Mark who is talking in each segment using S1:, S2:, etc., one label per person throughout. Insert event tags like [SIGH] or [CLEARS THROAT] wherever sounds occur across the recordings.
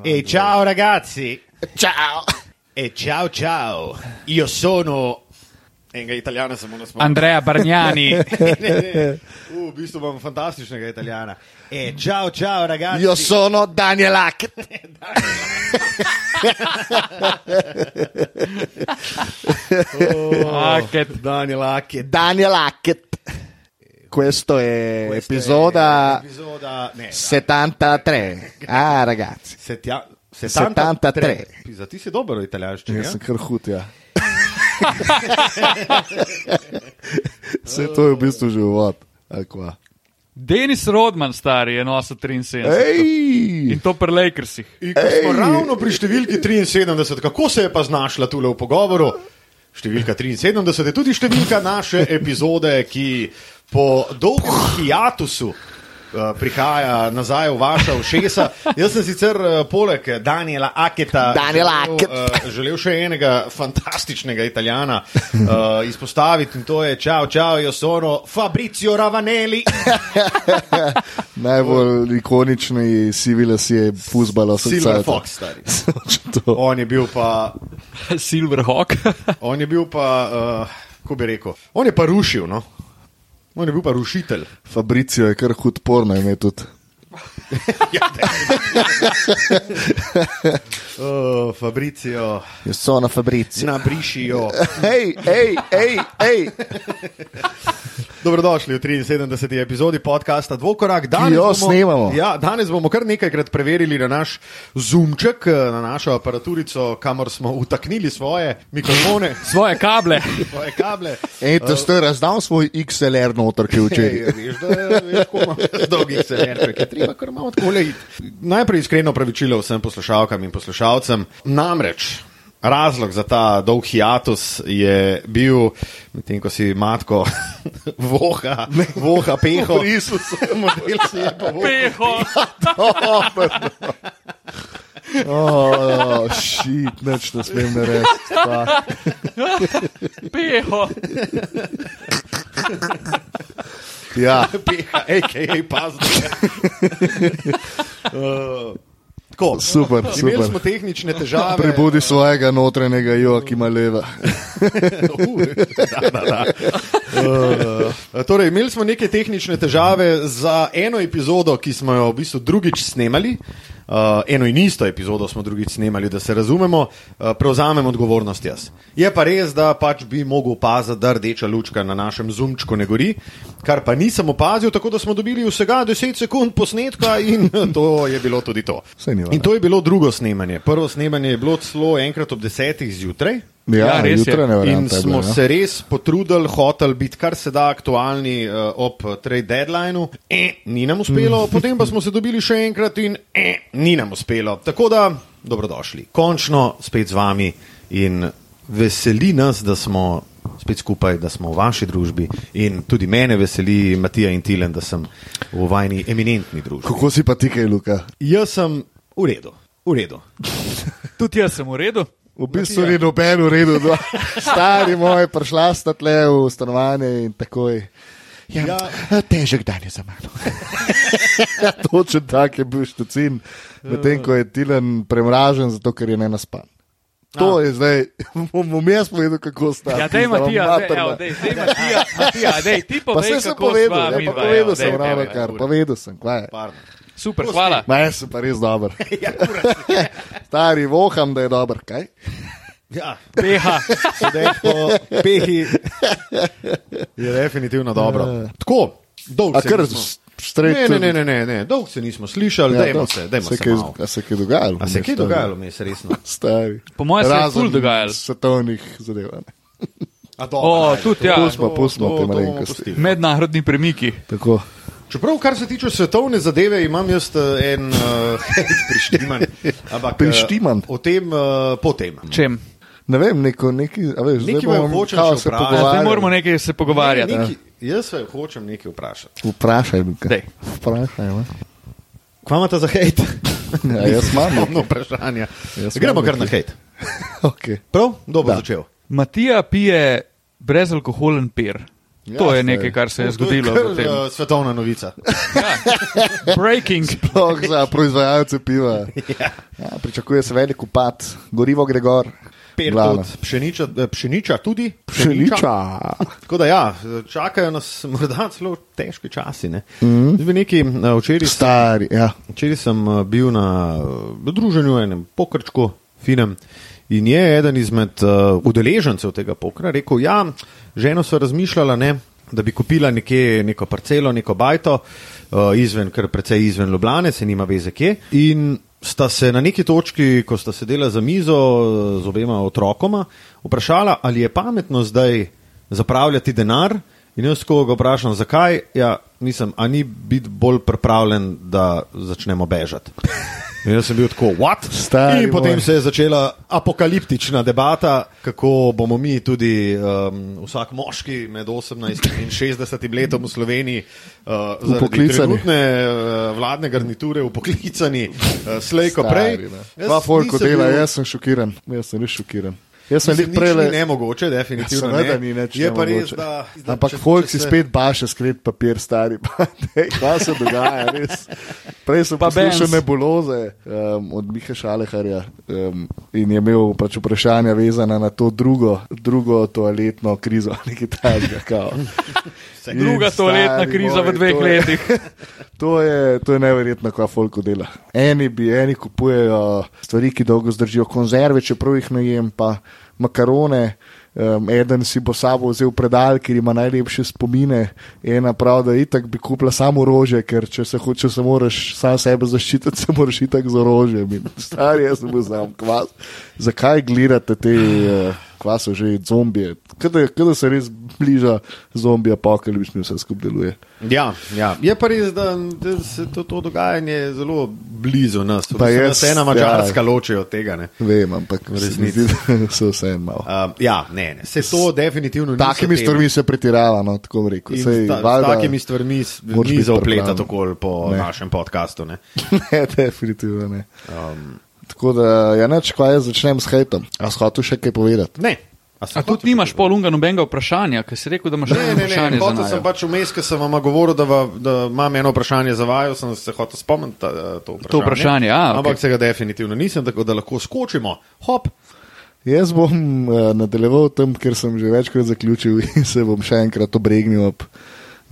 S1: E ciao ragazzi!
S2: Ciao!
S1: E ciao ciao! Io sono... Ah.
S3: Enega italiana sem morala spomniti.
S4: Andrea Bargnani.
S1: [LAUGHS] Uh, v bistvu imam fantastičnega italijana. E ciao ciao ragazzi!
S2: Io sono Daniel Hack.
S1: [LAUGHS] Ah,
S4: Hackett.
S1: Daniel Hackett.
S2: Daniel Hackett. Questo è
S1: Questo
S2: episoda
S1: è episoda... Ne,
S2: 73. Ah, ragazzi.
S3: Eh?
S1: setja-
S2: 73.
S1: Pizza, ti si dober v italijanščini,
S2: Jaz
S1: ja?
S2: sem kar hud, ja. Vse to je v bistvu že uvod. ali kva.
S4: [LAUGHS] Denis Rodman, stari, je nosil 73. In
S2: Ej!
S4: to pri Lakersih.
S3: In ko smo ravno pri številki 73, kako se je pa znašla tule v pogovoru? Številka 73 je tudi številka naše epizode, ki po dolgem hiatusu eh, prihaja nazaj v vaša ušesa. Jaz sem sicer eh, poleg Daniela Aketa
S2: Daniela Aket.
S3: eh, želel še enega fantastičnega italijana eh, izpostaviti in to je ciao, ciao, io sono Fabrizio Ravanelli.
S2: [LAUGHS] Najbolj ikonični sivi las je fuzbalo
S3: Silver
S2: [LAUGHS]
S3: Fox, stari.
S2: Cioè,
S3: On je bil pa
S4: Silverhawk.
S3: On je bil pa, uh, kako bi rekel, on je pa rušil, no. On je bil pa rušitelj.
S2: Fabricio je kar hud porno ime tudi.
S3: Uh, Fabricio,
S2: Jaz sono Fabricio.
S3: nabrišijo.
S2: Ej, ej, ej, ej.
S3: Dobrodošli v 73. epizodi podcasta Dvokorak. Danes
S2: jo snemamo.
S3: Ja, danes bomo kar nekajkrat preverili na naš zumček, eh, na našo aparaturico, kamor smo utaknili svoje mikrofone,
S4: [LAUGHS] Svoje kable.
S3: svoje kable.
S2: Ej, to ste razdal svoj XLR noter, ki je včeraj.
S3: Ej, ja, veš, da veš, ko imamo [LAUGHS] dolgih severcev, ki je treba, ker imamo tako le. Najprej iskreno pravičilo vsem poslušalkam in poslušalcem. Namreč razlog za ta dolg hiatus je bil, medtem ko si matko [LAUGHS] voha, voha
S2: [LAUGHS]
S3: peho.
S2: Prisel
S3: Model si je pa voha.
S4: Peho.
S2: Oh, šit, neč ne smem ne reči. Pa,
S4: Peho.
S2: ja,
S3: Peha, a.k.a. [LAUGHS] pazduha. Uh, Tako,
S2: Super, super.
S3: Imeli smo tehnične težave.
S2: prebudi svojega notranjega Joakima Leva.
S3: [LAUGHS] da, da, da. Uh, torej, imeli smo neke tehnične težave za eno epizodo, ki smo jo v bistvu drugič snemali. Uh, eno in isto epizodo smo drugič snemali, da se razumemo, uh, prevzamem odgovornost jaz. Je pa res, da pač bi mogel opaziti, da rdeča lučka na našem zumčku ne gori, kar pa nisem opazil, tako da smo dobili vsega 10 sekund posnetka in [LAUGHS] to je bilo tudi to.
S2: Saj ni važno.
S3: In to je bilo drugo snemanje. Prvo snemanje je bilo celo enkrat ob 10 zjutraj.
S4: Ja,
S2: Ja,
S4: res je.
S2: jutranja
S3: In
S2: varianta je.
S3: smo
S2: bila, ja.
S3: se res potrudili, hotel biti kar se da aktualni eh, ob eh, trade deadlineu, eh, ni nam uspelo, potem pa smo se dobili še enkrat in eh, ni nam uspelo. Tako da, dobrodošli. Končno spet z vami in veseli nas, da smo spet skupaj, da smo v vaši družbi in tudi mene veseli, Matija in Tilen, da sem v vajni eminentni družbi.
S2: Kako si pa ti kaj, Luka?
S3: Jaz sem v redu, v redu.
S4: Tudi jaz sem v redu.
S2: V bistvu ni noben v redu,
S4: [LAUGHS]
S2: dva. stari moj, prišla sta tle v stanovanje in takoj. Ja, ja. Težek dan je za mano. [LAUGHS] Točen tak je bil štucin, medtem ko je Tilan premražen, zato ker je ne naspan. To je zdaj, [LAUGHS] bom jaz povedal, kako sta.
S4: Ja, dej
S2: pizda,
S4: Matija, dej,
S2: materna.
S4: evo, dej, dej Matija, Matija, dej, ti
S2: Pa se
S4: povej,
S2: sem
S4: kako
S2: povedal,
S4: sva
S2: ne, pa
S4: midva,
S2: povedal
S4: evo,
S2: sem
S4: dej,
S2: ravno
S4: dej.
S2: kar, povedal sem, kva je.
S3: [LAUGHS] Pardon.
S4: Super, hvala.
S2: Ma jaz sem pa res dober. [LAUGHS] Stari, voham, da je dober, kaj?
S3: Ja,
S4: Peha.
S3: Sedaj po pehi je definitivno dobro. Tako, dolgo
S2: Ja. A
S3: se
S2: kar
S3: nismo-
S2: s- straight
S3: Ne,
S2: to
S3: ne,
S2: the-
S3: ne, ne, ne, ne. dolgo se nismo slišali, ja, dajmo
S2: dobro.
S3: se, dajmo se,
S2: kaj, Ja,
S3: malo.
S2: a se kaj dogajalo?
S3: A se je
S2: vmes,
S3: kaj
S2: stari?
S3: dogajalo, no? mi je resno?
S2: Stari.
S4: Po mojem se je
S2: Razen
S4: ful dogajalo.
S2: Svetovnih zadev. a ne.
S3: A dobro,
S4: O,
S3: ajde.
S4: tudi ja.
S2: Pustimo, pustimo
S3: to-
S2: te
S3: to bomo
S2: malenkosti.
S3: pustili.
S4: Mednarodni premiki.
S2: Tako.
S3: Čeprav, kar se tiče svetovne zadeve, imam jaz eh, [LAUGHS] en uh, prištiman. Ampak, eh,
S2: Prištiman?
S3: O tem uh, potem.
S4: Čem?
S2: Ne vem, neko, neki, a veš, zdaj
S3: Nekaj me
S2: bomo
S3: hočeš
S2: kao
S3: še
S2: se
S3: vprašati.
S4: Zdaj
S2: pogovarjali.
S4: moramo nekaj se pogovarjati.
S3: Neki, jaz se hočem nekaj vprašati.
S2: Vprašaj, Luka.
S4: Dej.
S2: Vprašaj, [LAUGHS] ma.
S3: Kva imate za hejt?
S2: Ja, jaz
S3: [LAUGHS]
S2: imam.
S3: Pomno vprašanje.
S2: Jaz imam
S3: Gremo kar na
S2: nekaj.
S3: hejt.
S2: okay.
S3: Prav? Dobro
S2: Da.
S3: začel.
S4: Matija pije brezalkoholen pir. Ja, to je nekaj, kar se je zgodilo.
S3: Kar,
S4: v tem.
S3: eh, Svetovna
S2: [LAUGHS]
S3: novica.
S2: eh,
S4: Breaking.
S2: Sploh
S3: [LAUGHS]
S2: za proizvajalce piva. Ja, pričakuje se velik upad, gorivo gre gor. Glavno.
S3: Pertot, pšeniča, eh, pšeniča tudi.
S2: Pšeniča.
S3: Tako da ja, čakajo nas [LAUGHS] morda celo težki časi. Ne?
S2: Mhm.
S3: Mm -hmm. Nekaj, eh, včeraj, sem,
S2: Stari, ja.
S3: včeraj sem eh, bil na eh, druženju, enem pokrčku, finem. In je eden izmed uh, udeležencev tega pokra rekel, ja, ženo so razmišljala, ne, da bi kupila nekje neko parcelo, neko bajto, uh, izven, kar precej izven Ljubljane, se nima veze kje. In sta se na neki točki, ko sta sedela za mizo eh, z obema otrokoma, vprašala, ali je pametno zdaj zapravljati denar. In jaz, ko ga vprašam, zakaj, ja, mislim, a ni biti bolj pripravljen, da začnemo bežati. In jaz sem bil tako, what?
S2: Stari
S3: in potem
S2: moj.
S3: se je začela apokaliptična debata, kako bomo mi, tudi um, vsak moški med 18 in 60 letom v Sloveniji, uh, zaradi
S2: Vpoklicani.
S3: trenutne uh, vladne garniture, upoklicani, uh, slej ko prej.
S2: Pa folko
S3: nisem
S2: dela,
S3: bil-
S2: jaz sem šokiran. Jaz sem res šokiran. Jaz sem
S3: Mislim,
S2: jih
S3: nič prele... ni
S2: prele.
S3: nemogoče, definitivno.
S2: Ja, Seveda
S3: ne.
S2: ni več.
S3: Je pa res, da. da
S2: Ampak
S3: če-
S2: folk
S3: če
S2: si
S3: se-
S2: spet baše skret papir, stari. [LAUGHS] pa dej, Kaj se dogaja, res. Prej sem
S4: Pa
S2: poslušal
S4: Benz.
S2: nebuloze um, od Miha Šaleharja um, in je imel pač vprašanja vezana na to drugo, drugo toaletno krizo, [LAUGHS] nekaj tajnega.
S3: [LAUGHS]
S2: In,
S4: Druga toaletna
S2: stari
S4: kriza v
S2: moj,
S4: dveh
S2: to je-
S4: letih.
S2: [LAUGHS] To je, to je neverjetno, kaj Folko dela. Eni bi, eni kupujejo stvari, ki dolgo zdržijo, konzerve, čeprav jih ne jem, pa makarone. Um, eden si bo sabo vzel predal, ker ima najlepše spomine, ena pravi, da itak bi kupila samo rože, ker če se, ho- če se moraš sam sebe zaščititi, [LAUGHS] se moraš itak za rože. Stari, jaz ne znam kvas. Zakaj gledate te uh, kvasov že zombije? Kada, kada se res bliža zombija, pa kaj mi vse skupaj deluje.
S3: Ja, ja. Je pa res, da, da se to, to dogajanje zelo blizu nas.
S2: Pa
S3: Pa je
S2: jaz,
S3: se ena
S2: ja.
S3: mačarska ja. loči od tega. Ne?
S2: Vem, ampak
S3: V
S2: se mi
S3: resnici.
S2: zdi, da so vseeno malo.
S3: Uh, ja, ne, ne. Se to definitivno ni.
S2: S takimi stvarmi se pretirava, no, tako bi rekel.
S3: In
S2: Sej,
S3: ta, s
S2: valjda-
S3: takimi stvarmi s-
S2: moraš
S3: ni
S2: biti
S3: zaopletati
S2: pripravljen.
S3: okol po ne.
S2: Ne.
S3: našem podkastu. Ne?
S2: [LAUGHS] ne, definitivno ne. Um, tako da, ja, neč, kaj jaz začnem s hejtom. A shotu še kaj povedati?
S3: ne. sem
S4: A
S3: hotel-
S4: tudi nimaš pol unga nobenega vprašanja, ker si rekel, da imaš še
S3: Ne,
S4: eno
S3: ne, ne,
S4: vprašanje za
S3: hotel sem
S4: nas.
S3: pač vmes, ker sem vam govoril, da, va, da imam eno vprašanje za vaju, sem se hotel spomniti eh, to vprašanje.
S4: To vprašanje, a,
S3: Ampak
S4: okej.
S3: se ga definitivno nisem, tako da lahko skočimo. Hop,
S2: Jaz bom uh, nadaljeval tam, ker sem že večkrat zaključil [LAUGHS] in se bom še enkrat obregnil ob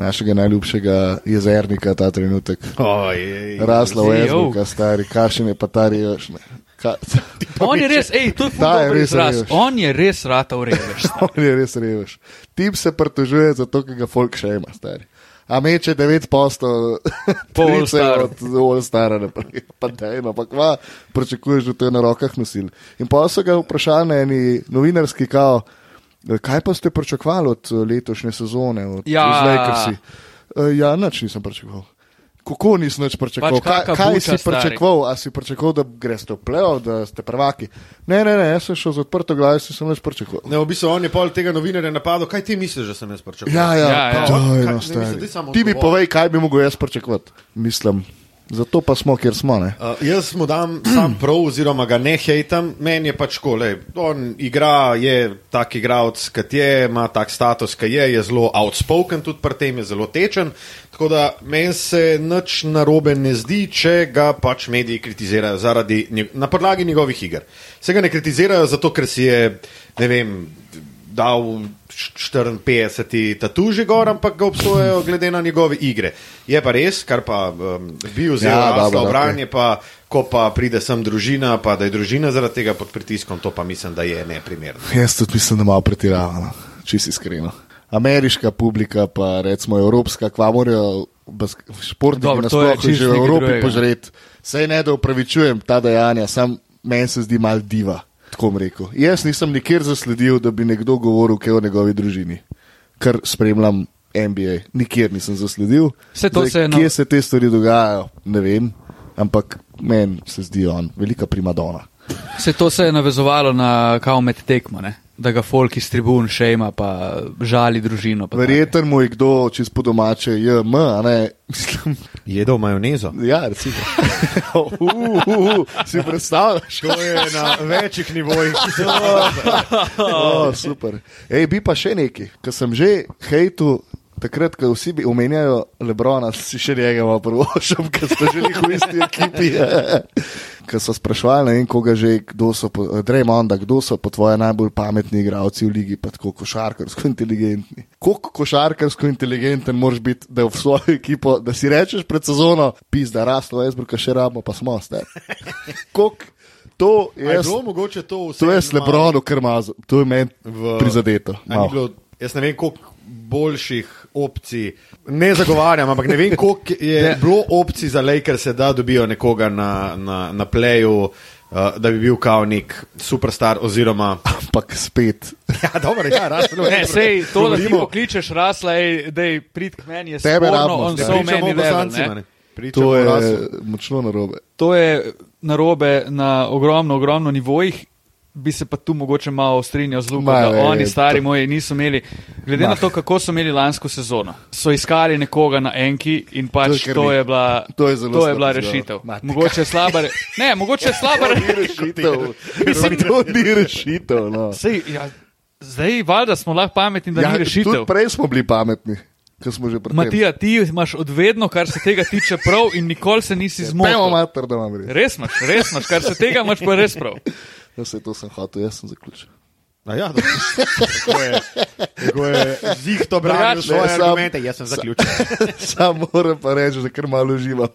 S2: našega najljubšega jezernika ta trenutek.
S3: Ojej.
S2: Rasla v
S4: Ej,
S2: jezernika, stari, kašen je pa ta rejoš. ne. Ka-
S3: [LAUGHS]
S4: On je res, hej, to je
S2: Da, je
S4: fukaj
S2: res
S4: izraz.
S2: revež.
S4: On je res rata urejež.
S2: On je res revež. Tip se pritožuje za to, ker ga folk še ima, stari. A meče 9 postov, [LAUGHS]
S4: Po
S2: trice
S4: All-Staru.
S2: od Olstara naprej, [LAUGHS] pa dejno, pa kva, pričakuješ, da to je na rokah nosil. In pa so ga vprašali na eni novinarski kao, kaj pa ste pričakovali od eh, letošnje sezone, od
S4: Ja.
S2: ja. Lakersi? E, ja, nič nisem pričakoval. Kako nisem nič pričakoval?
S4: Pač
S2: Pač
S4: kaka
S2: kaj kaj
S4: buča,
S2: si
S4: stari.
S2: pričakoval? A si pričakoval, da greste v plejo, da ste prvaki? Ne, ne, ne, jaz sem šel z odprto glavo, jaz nisem nič pričakoval.
S3: Ne, v bistvu on je pol tega novinarja napadel. Kaj ti misliš, da sem jaz pričakoval?
S2: Ja, ja, ja,
S4: Ja, ja.
S2: ja.
S3: Kaj-
S2: Daj,
S3: kaj- ne,
S2: no, stari.
S3: mislim, ti samo
S2: Ti mi
S3: odgovor.
S2: povej, kaj bi mogel jaz pričakovati. Mislim, zato pa smo, kjer smo. Ne?
S3: Uh, jaz mu dam sam [CLEARS THROAT] prav, oziroma ga ne hejtam, meni je pač kole. On igra, je tak igralec, kot je, ima tak status, kot je, je zelo outspoken, tudi pri tem je zelo tečen. Tako da meni se nič narobe ne zdi, če ga pač mediji kritizirajo zaradi, nje- na podlagi njegovih iger. Se ga ne kritizirajo zato, ker si je, ne vem, dal 54 tatuži gor, ampak ga obsojajo glede na njegove igre. Je pa res, kar pa um, bi vzel
S2: Ja,
S3: ja,
S2: dobro,
S3: Asla v
S2: dobro.
S3: branje, pa ko pa pride sem družina, pa da je družina zaradi tega pod pritiskom, to pa mislim, da je neprimerno.
S2: Jaz tudi mislim, da malo pretiravano, če si iskreno. Ameriška publika, pa recimo evropska, kva morajo bask- športniki
S4: Dobro, to je
S2: nasploh
S4: čisto
S2: že v
S4: nekaj
S2: Evropi
S4: drugega.
S2: požreti. Sej ne, da upravičujem ta dejanja, sam meni se zdi mal diva. Tako bom rekel. Jaz nisem nikjer zasledil, da bi nekdo govoril kaj o njegovi družini, kar spremljam NBA. Nikjer nisem zasledil.
S4: Saj to se je na-
S2: kje se te stvari dogajajo, ne vem, ampak meni se zdi on velika primadona.
S4: Se to se je navezovalo na kao med tekmo, ne? da ga folk iz tribun še ima, pa žali družino. pa
S2: Verjeten mu je kdo čez po domače, JM, a ne, [LAUGHS] mislim,
S3: Jedel majonezo.
S2: ja, recimo. [LAUGHS] uh, uh, uh, si predstavljaš?
S3: To je na večjih nivojih. [LAUGHS]
S2: Oh, super. Ej, bi pa še nekaj, ker sem že hejtu Takrat, ko vsi bi- omenjajo Lebrona, si še njega malo [LAUGHS] prvošem, ker ste že v isti ekipi. [LAUGHS] Ker so sprašvali, ne vem, koga že, kdo so, po- Draymonda, kdo so po tvoje najbolj pametni igralci v ligi, pa tako košarkarsko inteligentni. Koliko košarkarsko inteligenten moraš biti, da v svojo ekipo, da si rečeš pred sezono, pizda, raslo, jaz bruka še ramo, pa smo ste. [LAUGHS] Koliko to
S3: A Je
S2: je?
S3: bilo mogoče to vse?
S2: To je
S3: malo-
S2: Lebronu, ker ima, to je meni
S3: V-
S2: prizadeto.
S3: A ni
S2: malo.
S3: bilo, jaz ne vem, koliko boljših opcij, ne zagovarjam, ampak ne vem, koliko je ne. bilo opcij za Lakers, da dobijo nekoga na, na, na pleju, uh, da bi bil kao nek superstar oziroma.
S2: Ampak spet,
S3: Ja, dobro, ja, razumem.
S4: Ne, sej, to, da ti
S3: Govorimo-
S4: pokličeš rasla, da je prid k meni, je
S2: Tebe
S4: sporno,
S2: rabimo,
S4: on
S2: ja.
S4: so
S3: Pričamo
S4: meni
S3: o Bosancima,
S4: level,
S3: ne.
S4: ne.
S3: Pričamo
S2: to
S3: o
S2: je
S3: Russellu.
S2: močno narobe.
S4: To je narobe na ogromno, ogromno nivojih. Bi se pa tu mogoče malo strinjal z Luko,
S2: Malo
S4: da
S2: je
S4: oni,
S2: to.
S4: stari moji, niso imeli. Glede Mah. na to, kako so imeli lansko sezono, so iskali nekoga na enki in
S2: To
S4: pač
S2: je
S4: to je,
S2: kar
S4: to
S2: ni-
S4: je bila,
S2: to je zelo
S4: to je
S2: slaba
S4: bila
S2: izjava.
S4: rešitev.
S2: Matika.
S4: Mogoče je slaba, re... ne, mogoče je
S2: [LAUGHS]
S4: slaba
S2: Ja,
S4: rešitev.
S2: Rešitev. Mislim, to ni rešitev. No.
S4: Sej, ja, zdaj, valjda smo lahko pametni, da ja, ni rešitev.
S2: tudi prej smo bili pametni, ko smo že prej.
S4: Matija, ti imaš odvedno, kar se tega tiče prav in nikoli se nisi
S2: Memo
S4: zmotil.
S2: mater, da imam res.
S4: Res imaš, res imaš, kar se tega imaš pa res prav.
S2: Ja, se to sem hotel, jaz sem zaključil. [LAUGHS]
S3: A Ja, dobro. Tako je, tako je zihto branil
S4: Drugače,
S3: svoje
S2: ne, sam-
S3: argumente, jaz sem zaključil.
S2: Sam moram pa reči, da kar malo uživam,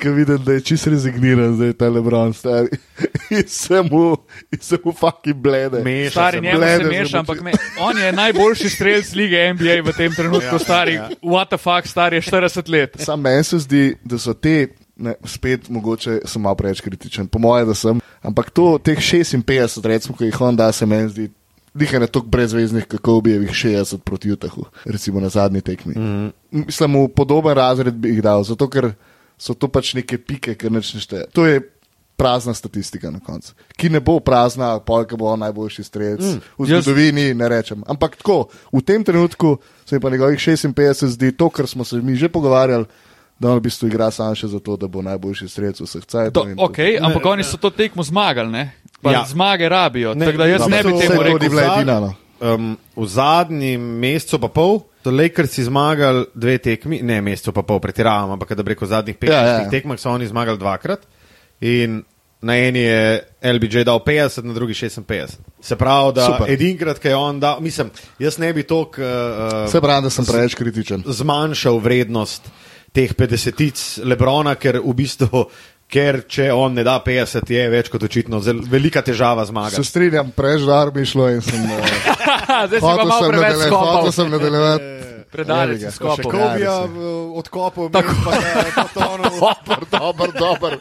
S2: ker vidim, da je čist rezigniran zdaj ta Lebron star. [LAUGHS] In se mu, in se mu fucking blede.
S3: Meša
S4: Stari
S3: se
S4: njemu
S2: blede se
S4: se meša,
S2: mu
S4: ampak me, on je najboljši strelec lige NBA v tem
S2: Ja,
S4: trenutku, stari, what the fuck, star je 40 let.
S2: Sam meni se zdi, da so te, ne, spet mogoče sem malo preveč kritičen, po mojem, da sem. Ampak to, teh 56, recimo, ki jih on da, se meni zdi. Dih je na toliko brezveznih, kako bi jih 60 proti Utahu, recimo na zadnji tekmi. Mm -hmm. Mislim, v podoben razred bi jih dal, zato ker so to pač neke pike, ker neč nešteje. To je prazna statistika na koncu, ki ne bo prazna, polka bo on najboljši strelec mm, v
S4: jaz-
S2: zgodovini, ne rečem. Ampak tako, v tem trenutku se mi pa njegovih 56 zdi to, kar smo se mi že pogovarjali, da on v bistvu igra sam še zato, da bo najboljši strelec vseh cajt.
S4: To, okay, ampak oni so to tekmo zmagali, ne? Pa
S3: Ja.
S4: ja. Zmage rabijo,
S3: Ne,
S4: [LAUGHS] tako da jaz
S3: dobro.
S4: ne bi
S3: To-
S2: Saj
S4: temu
S2: to
S4: rekel.
S2: ni bila edina, no.
S3: Um, v zadnjem mesecu pa pol so Lakersi zmagali dve tekmi, ne mesecu pa pol, pretiravam, ampak da bi rekel, v zadnjih 15 ja,
S2: ja.
S3: ja. tekmah so oni zmagali dvakrat in na eni je LBJ dal 50, na drugi 56. Se pravi, da
S2: Super.
S3: Super. edinkrat, ki je on dal, mislim, jaz ne bi tok. Uh,
S2: Se pravi, da sem preveč kritičen.
S3: zmanjšal vrednost teh 50 Lebrona, ker v bistvu. Ker če on ne da 50, je več kot očitno zel- velika težava
S2: Se
S3: zmagati.
S2: strinjam, preveč dar bi šlo in sem. eh,
S4: [LAUGHS] Zdaj si pa
S2: Hotel
S4: malo
S2: sem
S4: preveč
S2: nadalje-
S4: skopal.
S2: hotel sem
S4: [LAUGHS]
S2: nadaljevati.
S4: Predalec
S2: Jebiga.
S4: si skopal.
S2: Še Kobija,
S3: Kobija
S2: res
S3: odkopal, tako da je [LAUGHS] potonil.
S2: Dober, dober, dober.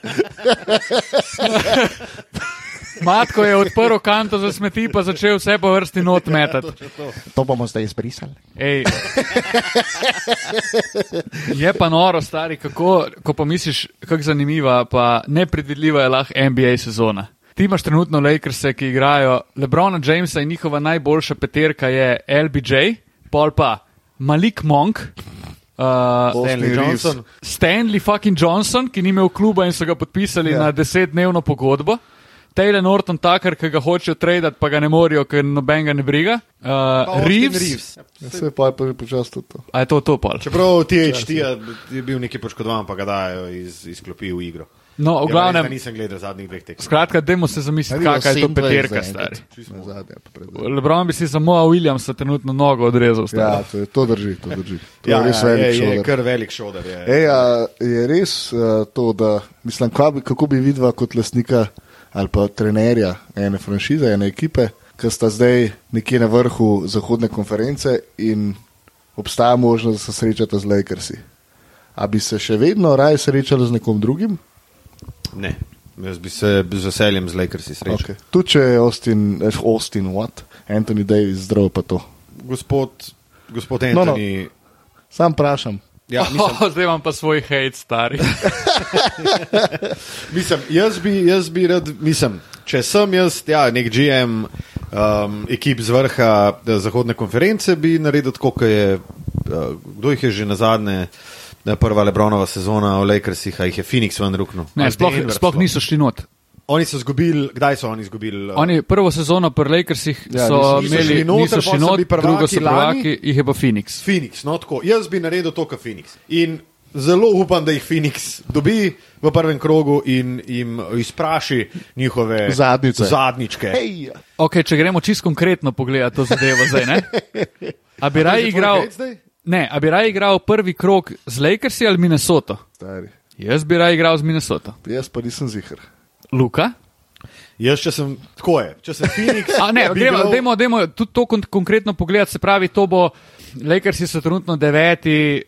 S4: Matko je odprl kanto za smeti, pa začel vse po vrsti not metati.
S2: To bomo zdaj izbrisali.
S4: Ej. [LAUGHS] Je pa noro, stari, kako, ko pomisliš, kako zanimiva, pa nepredvidljiva je lahko NBA sezona. Ti imaš trenutno Lakerse, ki igrajo Lebrona Jamesa in njihova najboljša peterka je LBJ, pol pa Malik Monk, uh,
S3: Stanley Johnson.
S4: Stanley fucking Johnson, ki ni imel kluba in so ga podpisali
S2: Ja.
S4: ja. na desetdnevno pogodbo. Taylor Norton Tucker, ki ga hočejo tradati, pa ga ne morejo, ker noben ga ne briga. Uh, Reeves,
S3: Reeves.
S2: Se Ja, je pa že počasi tudi to.
S4: A je to to pol?
S3: Čeprav THT -ja je bil neki poškodovan, pa ga dajo iz, iz klopi v igro. Je
S4: No, v
S3: pa res, da
S4: glavnem,
S3: Nisem gledal zadnjih dveh tekmov.
S4: skratka, dajmo se zamisliti, kakšna je to peterka, stari.
S2: Zadnje, pa pred.
S4: Lebron bi si za Moa Williamsa trenutno nogo odrezal, stari.
S2: Ja, to, je, to drži, to drži. To ja, je res velik
S3: je, je
S2: šolar.
S3: kar velik šoder. E- Je.
S2: Ej, a, je res uh, to, da mislim, kako bi, kako bi videla kot lastnika ali pa trenerja ene franšize, ene ekipe, ki sta zdaj nekje na vrhu zahodne konference in obstaja možnost, da se srečata z Lakersi. A bi se še vedno raje srečali z nekom drugim?
S3: Ne, jaz bi se z veseljem z Lakersi srečal.
S2: Okay. Tu če je Austin, eh, Austin Watt, Anthony Davis zdrav pa to.
S3: Gospod, gospod
S2: no.
S3: Anthony. No, no.
S2: Sam vprašam.
S4: [LAUGHS]
S3: Ja, mislim,
S4: oh, zdaj imam pa svoj hate,
S3: [LAUGHS]
S4: stari.
S3: Mislim, jaz bi, jaz bi rad, mislim, če sem jaz, ja, nek GM um, ekip z vrha eh, Zahodne konference, bi naredil tako, kot je, uh, kdo jih je že na zadnje, eh, prva Lebronova sezona v Lakersih, a jih je Phoenix ven ruknil.
S4: Ne,
S3: Ali
S4: sploh,
S3: Denver Ja.
S4: sploh niso šli not.
S3: Oni so izgubili, kdaj so oni izgubili? eh,
S4: Oni prvo sezono pri Lakersih
S2: Ja,
S4: ja, so
S3: niso- niso šli
S4: imeli
S3: noter, pol
S4: noter,
S3: so
S4: niso šli not,
S3: bili prvaki
S4: drugo so
S3: lani.
S4: prvaki, jih je pa Phoenix.
S3: Phoenix, no tako. Jaz bi naredil to, kar Phoenix. In zelo upam, da jih Phoenix dobi v prvem krogu in jim izpraši njihove
S2: Zadnjice.
S3: zadničke.
S2: Hej,
S4: Okay, če gremo čisto konkretno pogledati to zadevo zdaj,
S3: [LAUGHS]
S4: ne? A bi
S3: je
S4: raje
S3: tvoj
S4: igral,
S3: grad zdaj?
S4: ne, a bi raje igral prvi krok z Lakersi ali Minnesoto?
S2: stari.
S4: Jaz bi raje igral z Minnesoto.
S2: Jaz pa nisem zihar.
S4: Luka?
S3: Jaz, če sem tako je, če sem Phoenix.
S4: [LAUGHS] A ne,
S3: bi
S4: gremo,
S3: bil-
S4: dajmo, dajmo tudi to kon konkretno pogledati, se pravi, to bo, Lakersi so trenutno deveti,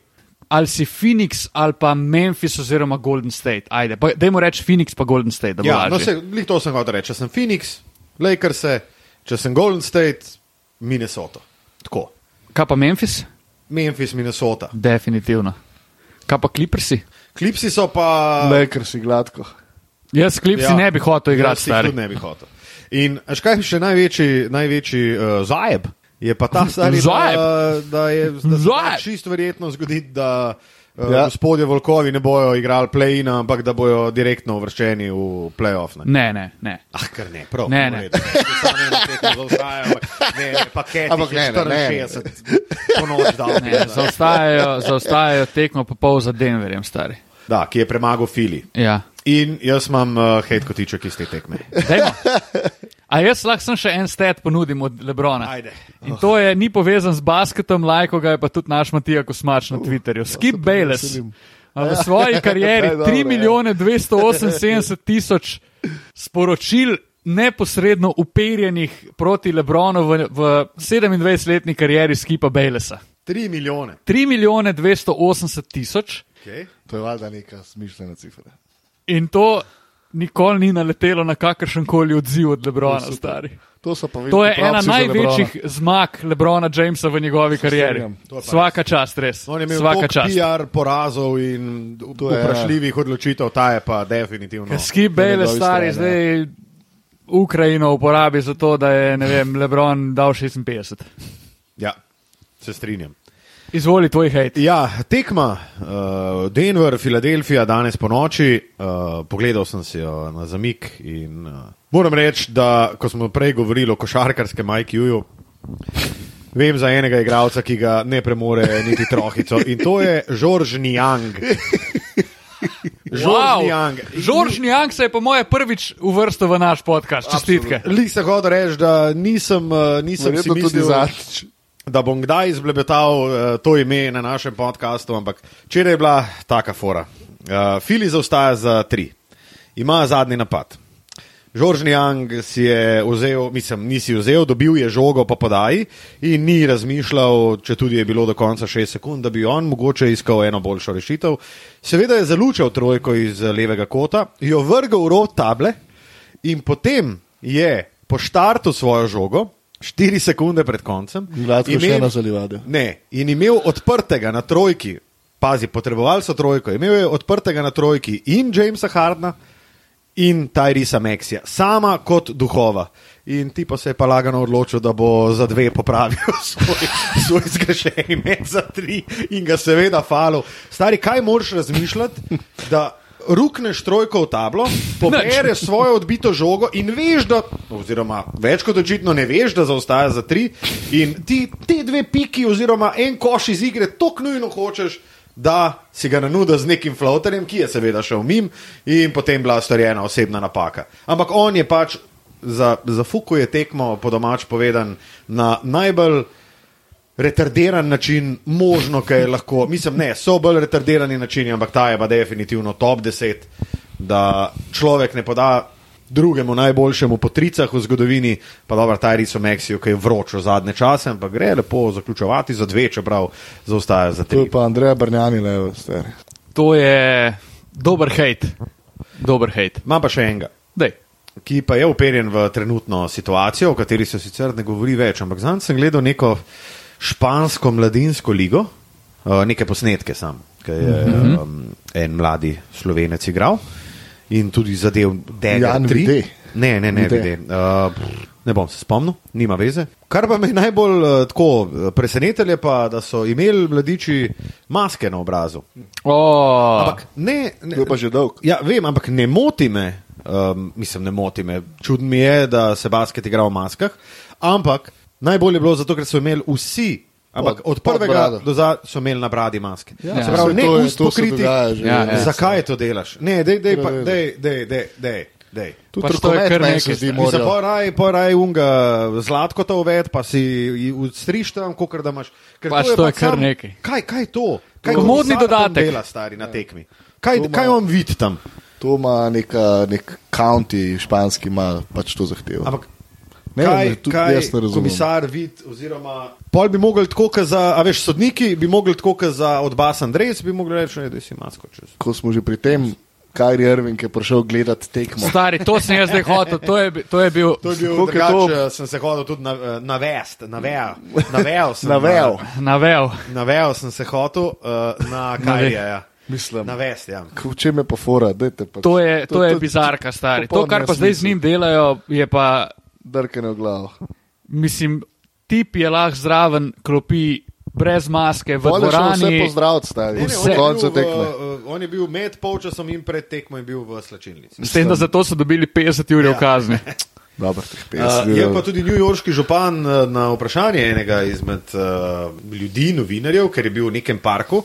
S4: ali si Phoenix ali pa Memphis oziroma Golden State. Ajde, pa dajmo reči Phoenix pa Golden State, da bo
S3: Ja, no,
S4: lažje.
S3: se, lih to sem hotel reči. Če sem Phoenix, Lakers, če sem Golden State, Minnesota. Tako.
S4: Kaj pa Memphis?
S3: Memphis, Minnesota.
S4: Definitivno. Kaj pa Clippersi?
S3: Klipsi so pa.
S2: Lekar si gladko.
S4: Jaz Clipsi ja, ne bi hotel igrati,
S3: jaz jih
S4: stari.
S3: Tudi ne bi hotel. In a veš, kaj je še največji, največji uh, zajeb? Je pa
S4: [LAUGHS]
S3: ta stari
S4: Zajeb?
S3: Da, da je da se
S4: Zajeb?
S3: da čisto verjetno zgoditi, da uh, ja.
S2: Ja.
S3: gospodje Volkovi ne bojo igrali play-ina, ampak da bojo direktno uvrščeni v play-off. Ne?
S4: Ne, ne, ne.
S3: Ah, kar ne, prav.
S4: Ne,
S3: v
S4: ne.
S3: redu. Samo eno tekmo zaostajajo, ampak Ne, ne, paket
S2: Ampak
S3: je
S2: ne, ne, ne.
S3: 64, po noč dal.
S4: ne zaostajajo, zaostajajo tekmo pa pol za Denverjem, stari.
S3: Da, ki je premagal Fili.
S4: Ja.
S3: In jaz imam uh, hate kotiček iz te tekme.
S4: Dajmo. A jaz lahko samo še en stat ponudim od Lebrona.
S3: Ajde.
S4: In to je, ni povezan z basketom, lajko ga je pa tudi naš Matija Kosmač na Twitterju. Skip Bayless.
S2: ja, veselim.
S4: a V
S2: [LAUGHS]
S4: svoji karieri
S2: Kaj dobro,
S4: 3
S2: ja.
S4: milijone 278 tisoč sporočil neposredno uperjenih proti Lebronu v, v 27-letni karieri Skipa Baylessa.
S3: 3 milijone.
S4: 3 milijone 280 tisoč
S3: Okay.
S2: To je valjda neka smišljena cifra.
S4: in to nikoli ni naletelo na kakršen koli odziv od Lebrona,
S2: super.
S4: stari.
S2: To so pa videli.
S4: To je ena največjih zmag Lebrona Jamesa v njegovi karieri.
S2: strinjam.
S3: To je pa
S4: Svaka čast, res.
S3: On je imel
S4: Svaka
S3: veliko
S4: čast.
S3: PR porazov in
S2: To je-
S3: vprašljivih odločitev, ta je pa definitivno.
S4: Skip
S2: na
S4: Bale,
S2: njegovi
S4: stari,
S2: strani,
S4: zdaj Ukrajino uporabi za to, da je ne vem, Lebron dal 56.
S3: Ja, se strinjam.
S4: Izvoli tvoj hejt.
S3: Ja, tekma uh, Denver, Filadelfija danes po noči. Uh, pogledal sem si jo na zamik in uh, moram reči, da ko smo prej govorili o košarkarskem IQ-ju, vem za enega igralca, ki ga ne premore niti trohico in to je Žorž Nijang. Žorž Nijang.
S4: Žorž Njank se je po moje prvič uvrstil v naš podcast. Čestitke.
S3: Lih se hoče reči, da nisem, eh, nisem si
S2: Verjetno tudi
S3: mislil,
S2: zadnjič.
S3: da bom kdaj izblebetal eh, to ime na našem podkastu, ampak včeraj je bila taka fora. Eh, Fili zaostaja za tri, ima zadnji napad. Žoržni Jang si je vzel, mislim, nisi vzel, dobil je žogo po podaji in ni razmišljal, če tudi je bilo do konca 6 sekund, da bi on mogoče iskal eno boljšo rešitev. Seveda je zalučal trojko iz levega kota, jo vrgel v rot table, In potem je po štartu svojo žogo, 4 sekunde pred koncem,
S2: Gladko še ena za Livadijo.
S3: Ne, in imel odprtega na trojki, pazi, potrebovali so trojko, imel je odprtega na trojki in Jamesa Hardna in Tyrisa Maxija, sama kot duhova. In ti pa se je pa lagano odločil, da bo za dve popravil [LAUGHS] svoj, svoj zgrešeni met za tri in ga seveda falil. Stari, kaj moraš razmišljati, da rukneš trojko v tablo, pobereš svojo odbito žogo in veš, da, oziroma več kot očitno ne veš, da zaostaja za tri in ti te dve piki oziroma en koš iz igre tako nujno hočeš, da si ga nanuda z nekim floaterjem, ki je seveda šel mim in potem bila storjena osebna napaka. Ampak on je pač za, za fuku je tekmo, po domač povedan, na najbolj retardiran način, možno, kaj je lahko. Mislim, ne, so bolj retardirani načini, ampak ta je pa definitivno top 10, da človek ne poda drugemu najboljšemu po tricah v zgodovini, pa dobro, ta Riso Mexijo, ki je vroč v zadnje čase, ampak gre lepo zaključovati za dve, čeprav zaostaja za
S2: To
S3: tri.
S2: je pa Andreja Brnjani, levo, stari.
S4: To je dober hejt. Dober hejt.
S3: Imam pa še enega.
S4: Dej.
S3: ki pa je uperjen v trenutno situacijo, o kateri se sicer ne govori več, ampak zanj sem gledal neko špansko mladinsko ligo, eh, neke posnetke sam, ki je
S2: Mhm.
S3: um, en mladi slovenec igral in tudi zadev Dega
S2: Jan
S3: 3.
S2: Vide.
S3: Ne, ne, ne,
S2: Vide.
S3: vide. Uh, ne bom se spomnil, nima veze. Kar pa me je najbolj uh, tako eh, presenetilo, je pa, da so imeli mladiči maske na obrazu.
S4: O,
S3: Ampak ne, ne,
S2: To je pa že dolg.
S3: Ja, vem, ampak ne moti me, Um, mislim, ne moti me. Čudno mi je, da se basket igra v maskah, ampak najbolje je bilo zato, ker so imeli vsi. Ampak
S2: Pod-
S3: od
S2: pod brado.
S3: prvega do zadnja so imeli na bradi maske.
S4: Ja.
S3: Se pravi, ne
S2: To je-
S3: ust
S2: to se
S3: pokriti.
S2: dogaja že,
S4: Ja, ja.
S3: Zakaj to delaš? Ne, dej, dej, pa,
S2: Pravilno.
S3: dej, dej, dej, dej, dej.
S2: Tudi
S4: Pač to je
S2: rokomet
S4: kar
S2: meni se
S4: nekaj,
S2: zdi,
S4: stari.
S2: morajo.
S3: Poraj, poraj unga, zlatko to uved, pa si ji ustriš tam, kot da imaš. Ker
S4: Pač to je kar
S3: sam-
S4: nekaj.
S3: Kaj, kaj je to? Kaj
S4: To-
S3: to
S4: Modni
S3: Sartan
S4: dodatek.
S3: Dela stari na tekmi. Kaj,
S2: Ja. To ima-
S3: kaj on vidi tam?
S2: To ima neka, nek county, španski ima pač to zahtevo.
S3: Ampak
S2: Ne,
S3: kaj,
S2: ne, tudi
S3: kaj
S2: jaz ne razumem.
S3: komisar vidi, oziroma pol bi mogli tako, kot za, a veš, sodniki bi mogli tako, kot za odbas Andrejs, bi mogli reči, ne, da si masko čez.
S2: Ko smo že pri tem, Kajri Irving je prišel gledati tekmo.
S4: Stari, to sem jaz zdaj hotel, to je, bi- to je bil.
S3: To je bil
S2: Koliko je to-
S3: drugače, sem se hodil tudi na, eh, na vest, na [LAUGHS] vejo. Na vejo sem,
S2: Navel.
S4: Navel.
S3: na vejo sem se hodil, uh, [LAUGHS] na Karija. Ja.
S2: Mislim.
S3: Na vest, ja.
S2: V čem je pa fora? Dajte Pač.
S4: To je, to je
S2: to-
S4: bizarka, stari. To,
S2: popoln
S4: kar pa zdaj z
S2: nesmisel.
S4: njim delajo, je pa,
S2: Drkane v glavo.
S4: mislim, tip je lahko zraven klopi, brez maske, v
S2: Vole še vse
S4: dvorani.
S2: pozdraviti, stavi.
S3: Ne, ne,
S2: Vse
S3: on je
S2: do konca
S3: bil v,
S2: tekme.
S3: eh, On je bil med polčasom in pred tekmo je bil v slačilnici.
S4: S tem, da zato so dobili 50 ur ja. kazni. [LAUGHS]
S2: Dobro, teh 50
S3: Uh, je
S2: evrov.
S3: pa tudi njujorški župan eh, na vprašanje enega izmed uh, ljudi, novinarjev, ker je bil v nekem parku.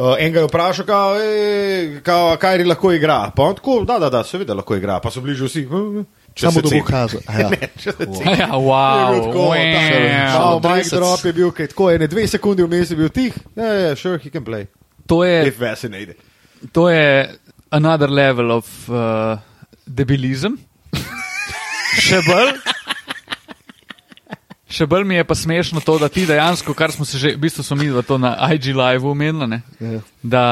S3: Uh, en ga je vprašal, kao, "Ej, kao, kaj ri lahko igra. Pa on tako, da, da, da, seveda lahko igra. Pa so bili že vsi. "Hm, če
S2: Samo
S3: se
S2: da bo
S3: cepi." [LAUGHS]
S2: kazal. A ja.
S3: Ne, če se cepi.
S4: Ja,
S3: Je bil
S4: wow.
S3: tako,
S4: wow.
S3: ta- Malo
S2: Samo
S3: mic
S2: 30.
S3: drop je bil, kaj tako, ene dve sekundi vmes je bil tih. Ja, ja, sure, he can play.
S4: To je,
S3: If fascinated.
S4: to je another level of uh, debilizem. Še bolj. Še bolj mi je pa smešno to, da ti dejansko, kar smo se že, v bistvu smo mi dva to na IG Live omenili,
S2: Ja.
S4: yeah. da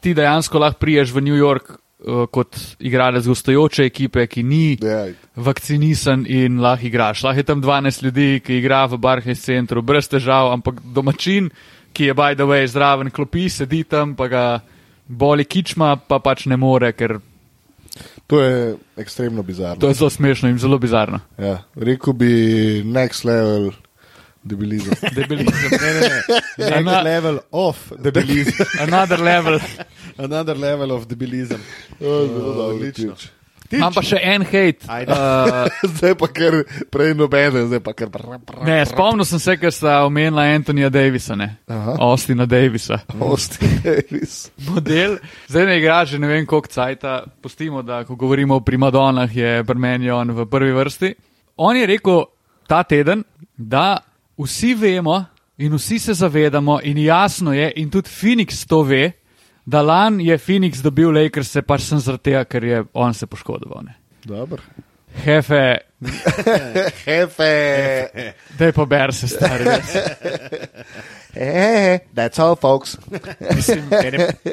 S4: ti dejansko lahko priješ v New York uh, kot igralec gostujoče ekipe, ki ni
S2: Ja,
S4: vakcinisan in lahko igraš. Lahko je tam 12 ljudi, ki igra v Barclays centru brez težav, ampak domačin, ki je by the way zraven klopi, sedi tam, pa ga boli kičma, pa pač ne more, ker
S2: To je ekstremno bizarno.
S4: to je zelo smešno in zelo bizarno.
S2: Ja, rekel bi next level debilizem.
S4: Debelizem.
S3: [LAUGHS] Ne, ne, ne. Next
S4: Ana-
S3: level of
S2: [LAUGHS]
S3: debilizem.
S4: Another level.
S3: Another level of debilizem.
S2: O, zelo dobro,
S3: Odlično.
S2: tič.
S4: Imam pa še en hate.
S3: Ajde.
S4: Uh,
S2: [LAUGHS] Zdaj pa kar prej nobene, zdaj pa kar. bra, bra.
S4: ne, spomnil sem se, ker sta omenila Antonija Davisa, ne.
S2: Aha.
S4: Ostina Davisa.
S2: Austin
S3: Mm.
S2: [LAUGHS] Davis.
S4: model. Zdaj ne igra že ne vem koliko cajta, pustimo, da ko govorimo o primadonah, je Brmenjo on v prvi vrsti. On je rekel ta teden, da vsi vemo in vsi se zavedamo in jasno je in tudi Phoenix to ve, da lan je Phoenix dobil Lakers, se pač sem zaradi tega, ker je on se poškodoval. Ne?
S2: [LAUGHS] Dobro.
S4: Hefe,
S2: Hefe.
S4: daj pa ber se stari. res.
S2: Eh, that's all, folks.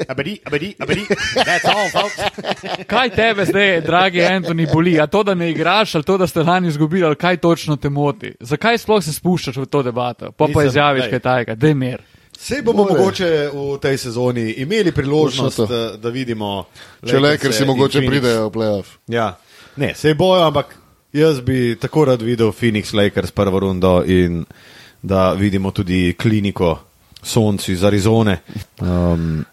S3: Abadi, abadi, abadi. That's all, folks.
S4: Kaj tebe zdaj, dragi Antoni, boli? A to, da ne igraš, ali to, da ste lani izgubili, ali kaj točno te moti? Zakaj sploh se spuščaš v to debato? Pa pa
S3: Nisem,
S4: izjaviš
S3: daj.
S4: kaj tajega, da je mir.
S3: Sej bomo
S2: More.
S3: More. mogoče v tej sezoni imeli priložnost, eh,
S2: Točno
S3: da,
S2: to.
S3: da vidimo,
S2: Če le, ker si
S3: in
S2: mogoče
S3: Phoenix.
S2: pridejo v playoff.
S3: Ja. Ne, sej bojo, ampak jaz bi tako rad videl Phoenix Lakers prvo rundo in da vidimo tudi kliniko Sonci iz Arizone, um,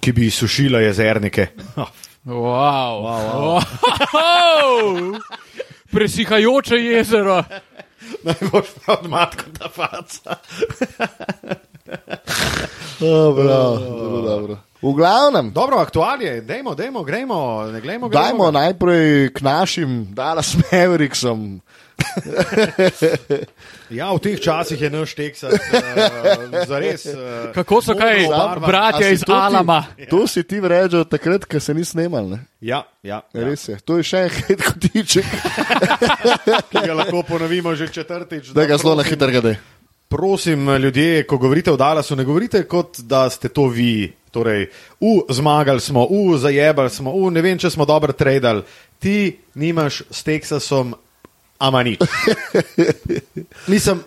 S3: ki bi sušila jezernike.
S4: Wow. Wow, wow. wow. Presihajoče jezero.
S3: Najboljši pa od matko ta faca.
S2: Dobro, Ja, zelo dobro. V glavnem,
S3: Dobro, aktualje, dajmo, dajmo, gremo, ne glejmo. gremo
S2: dajmo
S3: ga.
S2: najprej k našim Dallas Mavericksom.
S3: Ja, v teh časih je naš Teksas uh, zares. Uh,
S4: Kako so kaj, bratje
S2: A si
S4: iz
S2: to ti-
S4: Alama?
S2: To si ti rečeš takrat, ko se ni snimal. Ne?
S3: Ja, ja, ja.
S2: Res je, to je še en [LAUGHS] hit kotiček,
S3: Ki ga lahko ponovimo že četrtič.
S2: da ga zelo na
S3: prosim-
S2: hitro gre.
S3: Prosim, eh, ljudje, ko govorite o Dallasu, ne govorite kot da ste to vi. Torej, u, zmagali smo, u, zajebali smo, u, ne vem, če smo dobro tradali. Ti nimaš s Teksasom, ama nič. Mislim,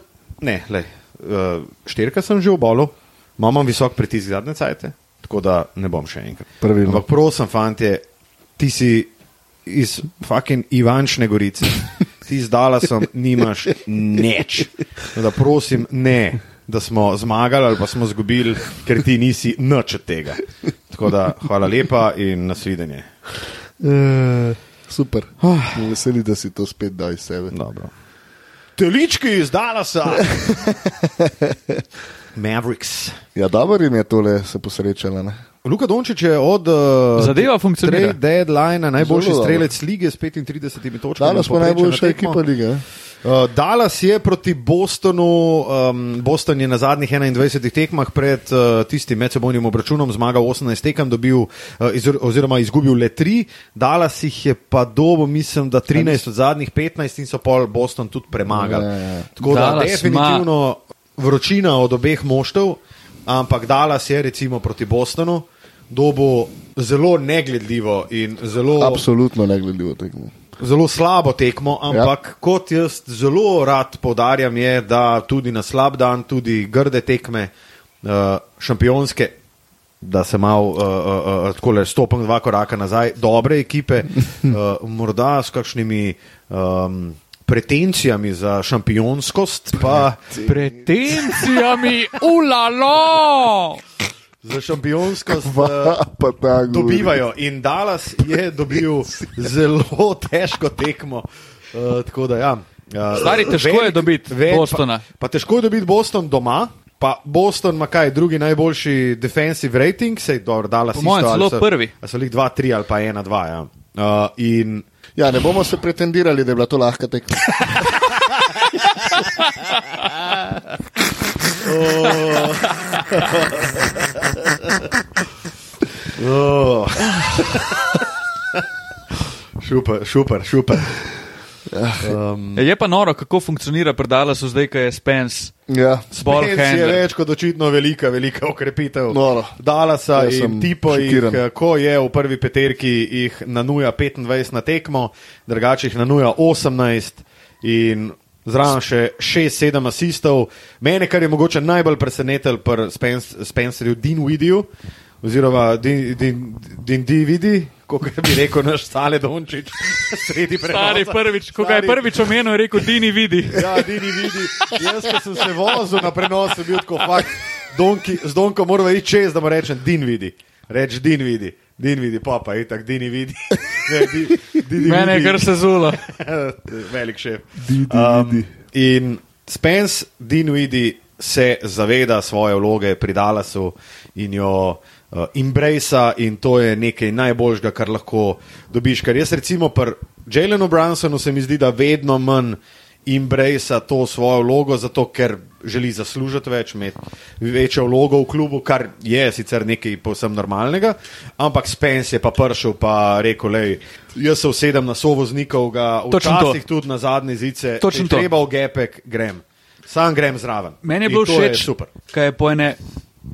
S3: ne, le. Uh, štirka sem že v bolu, imam visok pritisk zadnje cajte, tako da ne bom še enkrat.
S2: Pravilno.
S3: Ampak prosim, fantje, ti si iz fucking Ivančne gorice, ti iz Dalasom nimaš nič. Tako Da prosim, ne, da smo zmagali ali pa smo izgubili, ker ti nisi nič od tega. Tako da hvala lepa in nasvidenje.
S2: Uh, Super.
S4: Ah.
S2: Me Veseli, da si to spet dal iz sebe.
S3: Dobro. Telički iz Dallasa. Mavericks.
S2: Ja, dobro jim je tole se posrečalo. ne.
S3: Luka Dončić je od uh,
S4: Zadeva funkcionira.
S3: trade deadline najboljši
S2: Zelo dobro.
S3: strelec lige s 35 točkami.
S2: Danes smo
S3: povprečje na
S2: najboljša
S3: tekmo.
S2: ekipa lige. ne?
S3: Uh, Dallas je proti Bostonu. Um, Boston je na zadnjih 21 tekmah pred uh, tistim medsebojnim obračunom zmagal 18 tekem, dobil, uh, iz, oziroma izgubil le 3. Dallas jih je pa dobo, mislim, da 13 od zadnjih 15 in so pol Boston tudi premagali.
S2: Ja, ja, ja.
S3: Tako da
S4: Dallas
S3: definitivno vročina od obeh moštev, ampak Dallas je recimo proti Bostonu. Dobo zelo negledljivo in zelo
S2: Absolutno ne gledljivo tekmo.
S3: zelo slabo tekmo, ampak ja. kot jaz zelo rad podarjam, je, da tudi na slab dan, tudi grde tekme, uh, šampionske. Da se malo uh, uh, uh, tako le stopim dva koraka nazaj, dobre ekipe, uh, morda s kakšnimi um, pretencijami za šampionskost, pa
S4: Pretencijami, ulalo!
S3: za šampionskost uh,
S2: [LAUGHS] Pa, pa ta gori.
S3: dobivajo. In Dallas je dobil zelo težko tekmo. Uh, tako da, ja. Uh,
S4: Stari, težko je dobiti Bostona.
S3: Pa, pa težko je dobiti Boston doma. Pa Boston ima kaj, drugi najboljši defensive rating, sej dobro, dala
S4: Po mojem celo prvi.
S3: A so jih 2-3 ali pa 1-2. Ja. Uh, in
S2: Ja, ne bomo se pretendirali, da je bila to lahka tekma.
S4: [LAUGHS]
S3: [LAUGHS] Oh. šuper, šuper, šuper.
S4: Je pa noro, kako funkcionira predala so zdaj, ko je Spence.
S2: Ja.
S4: Ball
S3: Spence je
S4: handler.
S3: več kot očitno velika, velika okrepitev.
S2: Noro.
S3: Dala sa
S2: No, Jaz
S3: jim
S2: sem
S3: tipo, jih,
S2: šokiran.
S3: eh, ko je v prvi peterki, jih nanuja 25 na tekmo, drugače jih nanuja 18 in zraven še 6-7 asistov. Mene, kar je mogoče najbolj presenetilo pri Spence, Spencerju Dinvidiju, oziroma Din- Din- Din- Dinvidi, kot bi rekel naš stale Dončić, [LAUGHS] sredi prenosa.
S4: Stari prvič, ko ga je
S3: Stari-
S4: prvič omenil, je rekel, Dini vidi.
S3: Ja, Dini vidi. Jaz, ko sem se vozil na prenos, sem bil tako fakt. Donki, z Donko moramo iti čez, da mu rečem, din vidi. Reč din vidi, din vidi, papa, itak, dini vidi. [LAUGHS] Ne, di, dini
S4: Mene je
S3: vidi.
S4: kar sezulo.
S3: [LAUGHS] Velik šef. Um,
S2: Di, di, vidi.
S3: in Spence, din vidi, se zaveda svoje vloge pri Dallasu in jo. Uh, Embracea in to je nekaj najboljžga, kar lahko dobiš. Ker jaz, recimo, pri Jelenu Brunsonu se mi zdi, da vedno manj embracea to svojo vlogo, zato ker želi zaslužiti več, imeti večjo vlogo v klubu, kar je sicer nekaj povsem normalnega, ampak Spence je pa prišel in rekel: lej, Jaz se usedem na sovoznikov, ga
S4: Točno to.
S3: včasih tudi na zadnje zice,
S4: Točno
S3: če
S4: to.
S3: treba v gepek, grem. Sam grem zraven.
S4: Meni je
S3: In
S4: bilo
S3: to
S4: všeč,
S3: super.
S4: kaj je po ene,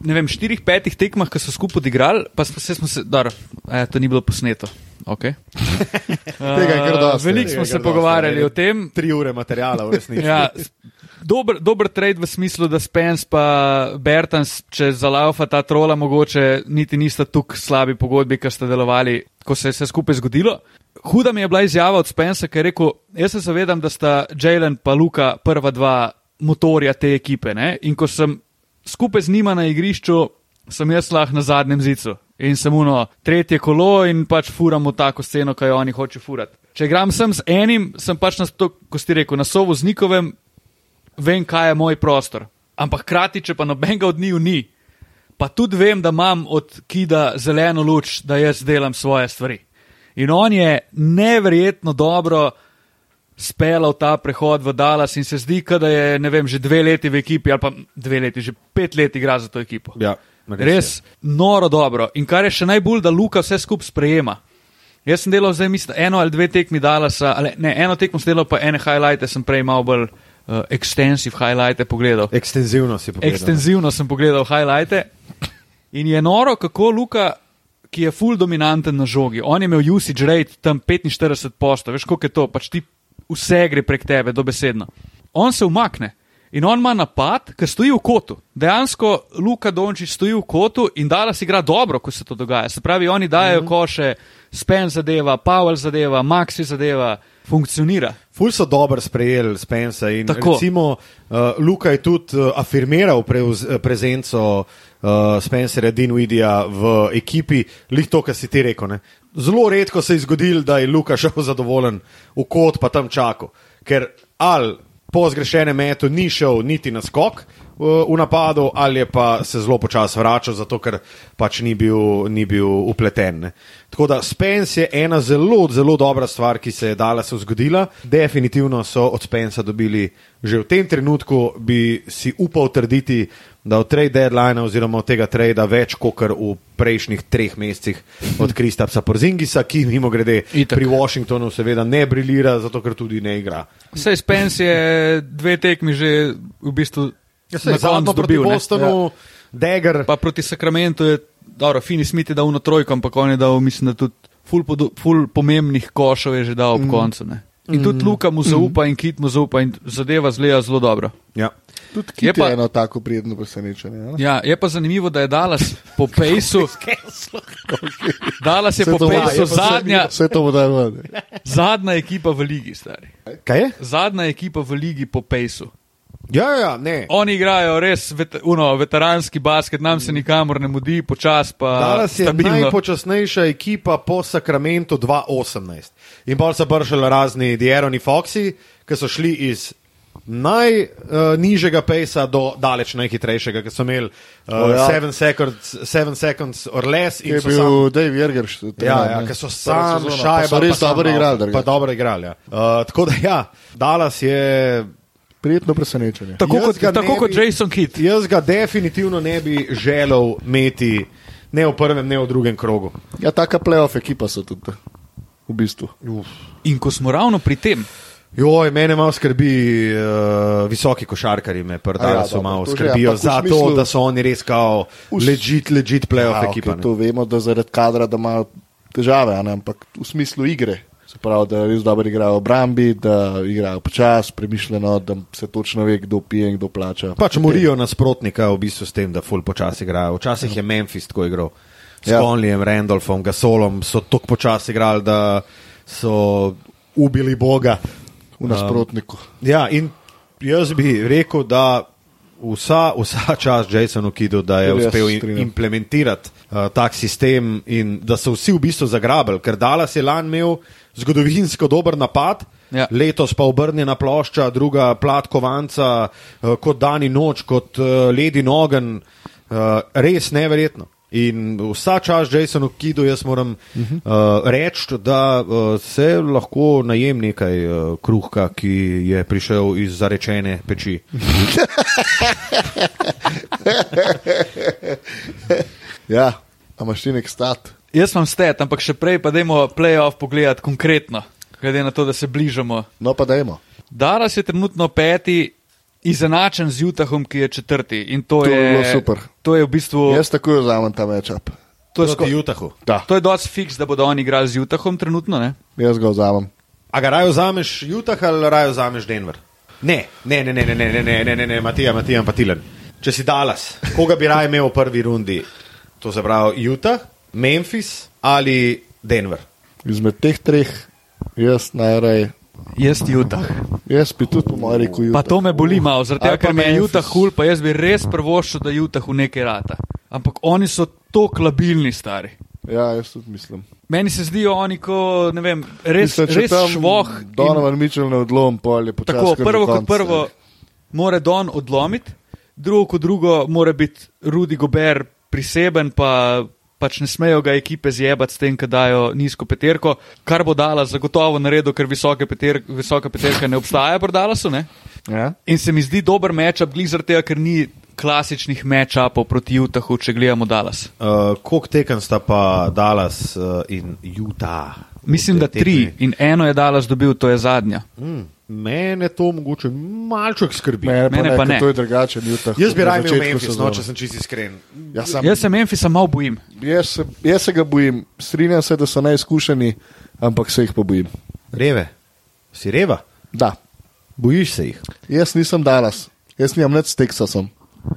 S4: ne vem, štirih, petih tekmah, ki so skupaj odigrali, pa smo se, smo se dar, eh, to ni bilo posneto. Okay.
S2: [LAUGHS]
S4: [LAUGHS]
S2: Tega je kar dosti. ja.
S4: Veliko
S3: Tega
S4: smo se
S3: dosti,
S4: pogovarjali
S3: ne.
S4: o tem.
S3: Tri ure materijala v resnici.
S4: Ja, s- dober, dober trade v smislu, da Spence pa Bertans, če zalaufa ta trola, mogoče niti nista tukaj slabi pogodbi, ki ste delovali, ko se je vse skupaj zgodilo. Huda mi je bila izjava od Spensa, ki je rekel: Jaz se zavedam, da sta Jalen in Luka prva dva motorja te ekipe. Ne? In ko sem skupaj z njima na igrišču, sem jaz lahko na zadnjem zicu in sem uno, tretje kolo in pač furamo tako sceno, kaj oni hoče furati. Če igram sem z enim, sem pač na, to, ko si rekel, na sovoznikovem, vem, kaj je moj prostor. Ampak hkrati, če pa nobenega od njiju ni, pa tudi vem, da imam od Kida zeleno luč, da jaz delam svoje stvari. In on je neverjetno dobro speljal ta prehod v Dallas in se zdi, kot da je ne vem, že dve leti v ekipi, ali pa dve leti, že pet let igra za to ekipo.
S3: Ja, res
S4: res, res noro dobro. In kar je še najbolj, da Luka vse skupaj sprejema. Jaz sem delal zdaj, mislim, eno ali dve tekmi Dallasa, ali ne, eno tekmo sem delal, pa ene highlighte sem prej malo bolj uh, extensive highlighte pogledal.
S3: Ekstenzivno si pogledal.
S4: Ekstenzivno sem pogledal highlighte in je noro, kako Luka, ki je full dominanten na žogi, on je imel usage rate tam 45 posto, veš koliko je to, pač ti vse gre prek tebe, dobesedno. On se umakne in on ima napad, ker stoji v kotu. Dejansko Luka Dončić stoji v kotu in Dallas igra dobro, ko se to dogaja. Se pravi, oni dajo mm -hmm. koše, Spen zadeva, Powell zadeva, Maxi zadeva, funkcionira.
S3: Ful so dobro sprejeli Spensa in
S4: Tako.
S3: recimo uh, Luka je tudi uh, afirmiral preuz, eh, prezenco uh, Spencerja Dinvidija v ekipi, lih to, kar si ti rekel. Ne? zelo redko se je zgodil, da je Luka [LAUGHS] šel zadovoljen v kot, pa tam čakal. Ker ali po zgrešenem metu ni šel niti na skok eh, v napadu, ali je pa se zelo počasi vračal, zato ker pač ni bil, ni bil upleten. Ne. Tako da Spence je ena zelo, zelo dobra stvar, ki se je dala, se zgodila. Definitivno so od Spensa dobili že v tem trenutku, bi si upal trditi, da od trade deadline oziroma od tega trada več kot v prejšnjih treh mesecih od Kristapsa Porzingisa, ki mimo grede
S4: Itak.
S3: pri Washingtonu seveda ne briljira, zato ker tudi ne igra.
S4: Sej Spence je dve tekmi že v bistvu
S3: Ja,
S4: na koncu
S3: proti
S4: dobil. ne. Ja.
S3: Bostonu, Ja. Dagger.
S4: Pa proti Sakramentu je, dobro, Fini Smith je dal na trojko, ampak on je dal, mislim, da tudi ful, podo, ful pomembnih košov je že dal ob
S2: Mhm.
S4: mm. koncu. Ne? In tudi Luka mu zaupa, mm. in Kit mu zaupa, in zadeva zleja zelo dobro.
S3: Ja.
S2: Tudi
S4: Je
S2: ki
S4: pa-
S2: je eno tako prijetno presenečenje. a ne?
S4: Ja, je pa zanimivo, da je Dallas
S2: [LAUGHS]
S4: po Pejsu. Dallas je
S2: Saj
S4: po
S2: to bo- je
S4: Pejsu
S2: pa
S4: zadnja,
S2: Vse to bo dal
S4: [LAUGHS]
S2: ven.
S4: zadnja ekipa v ligi, stari.
S3: Kaj je?
S4: Zadnja ekipa v ligi po Pejsu.
S3: Ja, ja, ja, ne.
S4: Oni igrajo res vet, uno, veteranski basket, nam se nikamor ne mudi, počas pa.
S3: Danes je
S4: stabilno.
S3: najpočasnejša ekipa po Sakramentu 2018. In bolj so bršali razni Dieroni Foxi, ki so šli iz najnižjega uh, pejsa do daleč najhitrejšega, ki so imeli 7 uh,
S2: O, ja.
S3: seven seconds, seven seconds or less. in
S2: Je
S3: so sam-
S2: bil Dave Jerger. še trener,
S3: Ja, ja,
S2: ne?
S3: ki so
S2: Prva
S3: sami
S2: sezona,
S3: šajbali.
S2: pa So res
S3: pa sam
S2: dobro
S3: avto,
S2: igrali.
S3: Pa
S2: drugače.
S3: dobro igrali, ja. Uh, tako da, ja, Dallas je
S2: Prijetno presenečenje.
S4: Tako,
S3: Jaz
S4: kot,
S3: ga ne
S4: tako kot
S3: bi-
S4: Jason Kidd.
S3: Jaz ga definitivno ne bi želel imeti ne v prvem, ne v drugem krogu.
S2: Ja, taka playoff ekipa so tudi. V bistvu.
S4: In ko smo ravno pri tem,
S3: Joj, mene malo skrbi, uh, visoki košarkari me
S2: A ja,
S3: prdala, so
S2: dobro,
S3: malo
S2: to že,
S3: skrbijo
S2: ampak v
S3: za to,
S2: smislu-
S3: da so oni res kao
S2: s-
S3: legit, legit
S2: Ja,
S3: playoff
S2: okej,
S3: ekipa. ne.
S2: to vemo, da zaradi kadra da imajo težave, a ne? ampak v smislu igre. Se pravi, da res dobro igrajo v obrambi, da igrajo počasi, premišljeno, da se točno ve, kdo pije in kdo plača.
S3: Pač morijo nasprotnika v bistvu s tem, da ful počasi igrajo. Včasih je Memphis tako igral. S ja.
S2: Ja.
S3: Conlijem, Randolphom, Gasolom so tako počasi igrali, da so ubili Boga.
S2: v nasprotniku.
S3: Ja, in jaz bi rekel, da vsa, vsa čast Jasonu Kidu, da je
S2: Tudi jaz
S3: uspel in,
S2: strinjam.
S3: implementirati uh, tak sistem in da so vsi v bistvu zagrabili, ker Dallas je lani imel zgodovinsko dober napad.
S4: Ja.
S3: Letos pa obrnjena plošča, druga plat kovanca, uh, kot dan in noč, kot uh, leden ogen, uh, res neverjetno. In vsa čas Jasonu Kidu jaz moram uh
S4: Mhm.
S3: -huh. uh, reči, da uh, se lahko najem nekaj uh, kruhka, ki je prišel iz zarečene peči.
S2: Ja, a imaš ti nek stat.
S4: jaz imam stet, ampak še prej pa dajmo playoff pogledati konkretno, glede na to, da se bližamo.
S2: No, pa dajmo.
S4: Daras je trenutno peti, izenačen z Jutahom, ki je četrti. In to,
S2: To bi
S4: je
S2: bilo super.
S4: To je v bistvu.
S2: Jaz takoj vzamem ta matchup.
S4: to je
S3: Proti
S4: sko-
S3: Utahu.
S2: Da,
S4: To je dosti fiks, da bodo oni igrali z Jutahom trenutno. Ne?
S2: jaz ga vzamem.
S3: A ga rajo zameš Jutah ali rajo zameš Denver? Ne, ne, ne, ne, ne, ne, ne, ne, ne, ne, ne Matija, Matija, Patilen. Če si Dallas, koga bi raje imel v prvi rundi? To se pravi Utah, Memphis ali Denver.
S2: Izmed teh treh, jaz najraje,
S4: Jaz Jutah.
S2: jaz bi tudi po mojem reku.
S4: Pa
S2: Utah.
S4: to me boli malo, zaradi tega,
S2: Ali pa
S4: ker me je
S2: Memphis.
S4: Utah hul, pa jaz bi res prvošil, da Utah v nekaj rata. Ampak oni so tako labilni, stari.
S2: Ja, jaz tudi mislim.
S4: Meni se zdijo oni, ko ne vem, res,
S2: mislim, če
S4: res
S2: tam
S4: švoh. in-
S2: Donovan in... Mitchell ne odlom polje.
S4: Tako, prvo kot prvo, mora Don odlomiti, drugo kot drugo, mora biti Rudy Gober priseben, pa pač ne smejo ga ekipe zjebati s tem, da dajo nizko peterko, kar bo dala zagotovo naredil, ker visoke peter, visoka peterka ne obstaja, prodala so ne.
S2: Ja?
S4: In se mi zdi dober matchup, glih zaradi tega, ker ni klasičnih matchupov proti Utahu, če gledamo Dallas.
S3: Uh, Kolik tekem sta pa Dallas uh, in Utah?
S4: Mislim, da
S3: Te tekme.
S4: tri in eno je Dallas dobil, to je zadnja.
S3: Mm, mene to mogoče malček skrbi.
S2: Mene,
S4: Mene
S2: ne,
S4: pa
S2: ker
S4: ne.
S2: To je drugače, ni tako.
S3: Jaz bi raje imel Memphis, no, če sem čisto iskren.
S2: Jaz, Ja, sam,
S4: Jaz se Memphisa malo bojim.
S2: jaz, se, jaz se ga bojim, strinjam se, da so najizkušeni, ampak se jih pa bojim.
S3: Reve, si reva?
S2: Da,
S3: Bojiš se jih?
S2: jaz nisem Dallas, jaz nimam nič s Teksasom.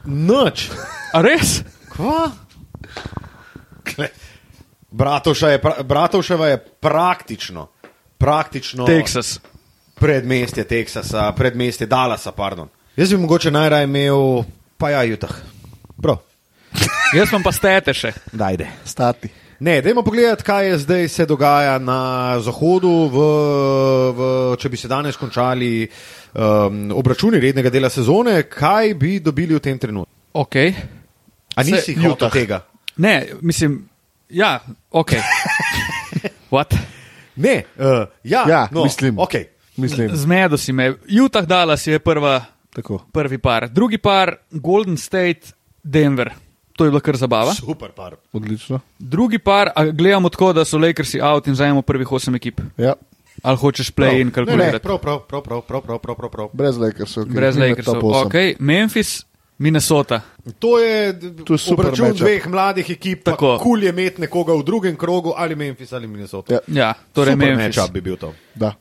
S3: Noč.
S4: A res?
S3: Kva? Kle, Bratovša je, pra, Bratovševa je praktično, praktično
S4: Teksas.
S3: predmestje Teksasa, predmestje Dallasa. Pardon. Jaz bi mogoče najraje imel, pa ja, Jutah. Prav,
S4: Jaz imam pa stete še.
S3: dajde.
S2: Stati.
S3: Ne, dajmo pogledati, kaj je zdaj se dogaja na zahodu, v, v, če bi se danes končali um, obračuni rednega dela sezone, kaj bi dobili v tem trenutku.
S4: Okay.
S3: A
S4: Se-
S3: nisi jih od tega?
S4: Ne, mislim, ja, ok. What?
S3: Ne, uh, ja,
S2: Ja,
S3: no,
S2: mislim.
S3: Okay.
S2: Mislim,
S4: Zmedo si me. Utah Dallas je prva,
S2: tako.
S4: prvi par. Drugi par, Golden State, Denver. To je bila kar zabava.
S3: Super, par.
S2: Odlično.
S4: Drugi par, a gledamo tako, da so Lakersi out in zajemo prvih osem ekip.
S2: Ja.
S4: Ali hočeš play in
S3: No, Ne, ne,
S4: kalkulirati?
S3: prav, prav, prav, prav, prav, prav, prav, prav, prav.
S2: Brez Lakersov. Okay.
S4: Brez Lakersov. Okay. Memphis, Minnesota.
S3: To je,
S2: To je super
S3: obračun
S2: matchup.
S3: dveh mladih ekip,
S4: Tako.
S3: tako kul je imeti nekoga v drugem krogu ali Memphis ali Minnesota.
S2: Ja.
S4: Ja, torej
S3: Super
S4: Memphis.
S3: matchup bi bil to.
S2: Da,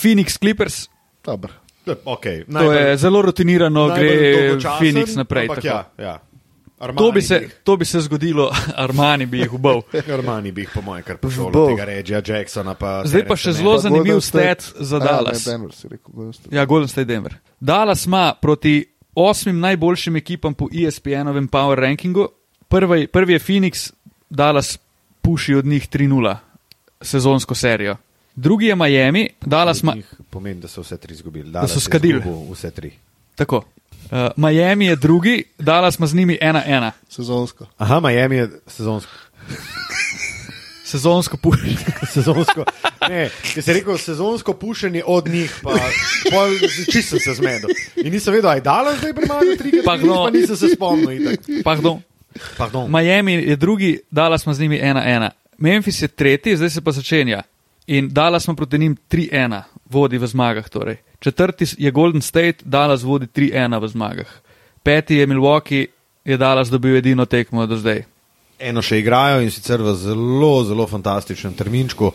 S4: Phoenix Clippers,
S2: dobro.
S3: Okay,
S4: to je zelo rutinirano, gre
S3: dolgočasen,
S4: Phoenix naprej.
S3: ampak
S4: tako.
S3: Ja, ja. Armani
S4: To bi, se,
S3: bi jih-
S4: to bi se zgodilo, [LAUGHS] Armani bi jih ubil.
S3: Armani bi jih, po mojem, kar prišel
S2: Bo.
S3: od tega Regia Jacksona. Pa
S4: Zdaj pa
S3: Terence
S4: še
S3: Mann.
S4: zelo
S2: Pa Golden
S4: zanimiv
S2: State-
S4: stat za
S2: A,
S4: Dallas.
S2: Ne, Denver si rekel, Golden State.
S4: Ja, Golden State Denver. Dallas ima proti osmim najboljšim ekipam po E ESPN-ovem Power Rankingu. Prvi, prvi je Phoenix, Dallas puši od njih 3-0 sezonsko serijo. Drugi je Miami, Dallas ima.
S3: Njih Pomeni, da so vse tri izgubili.
S4: so
S3: Dallas je
S4: skadili.
S3: izgubil Vse tri.
S4: Tako. Uh, Miami je drugi, Dallas ima z njimi 1-1.
S2: Sezonsko.
S3: Aha, Miami je sezonsko.
S4: Sezonsko puši.
S3: [LAUGHS] sezonsko ne, jaz sem rekel, sezonsko pušenje od njih, pa pol čisto sem se zmedel. In nisem vedel, aj dalo zdaj primarno tri,
S4: Pa
S3: pa,
S4: kdo?
S3: no. pa nisem se spomnil. Itak. no,
S4: Pardon.
S3: Pardon.
S4: Miami je drugi, Dallas ima z njimi 1-1. Memphis je tretji, zdaj se pa začenja. In Dallas ima proti njim 3-1, vodi v zmagah. Torej. Četrti je Golden State, Dallas vodi 3-1 v zmagah. Peti je Milwaukee, je Dallas dobil edino tekmo do zdaj.
S3: Eno še igrajo in sicer v zelo, zelo fantastičnem terminčku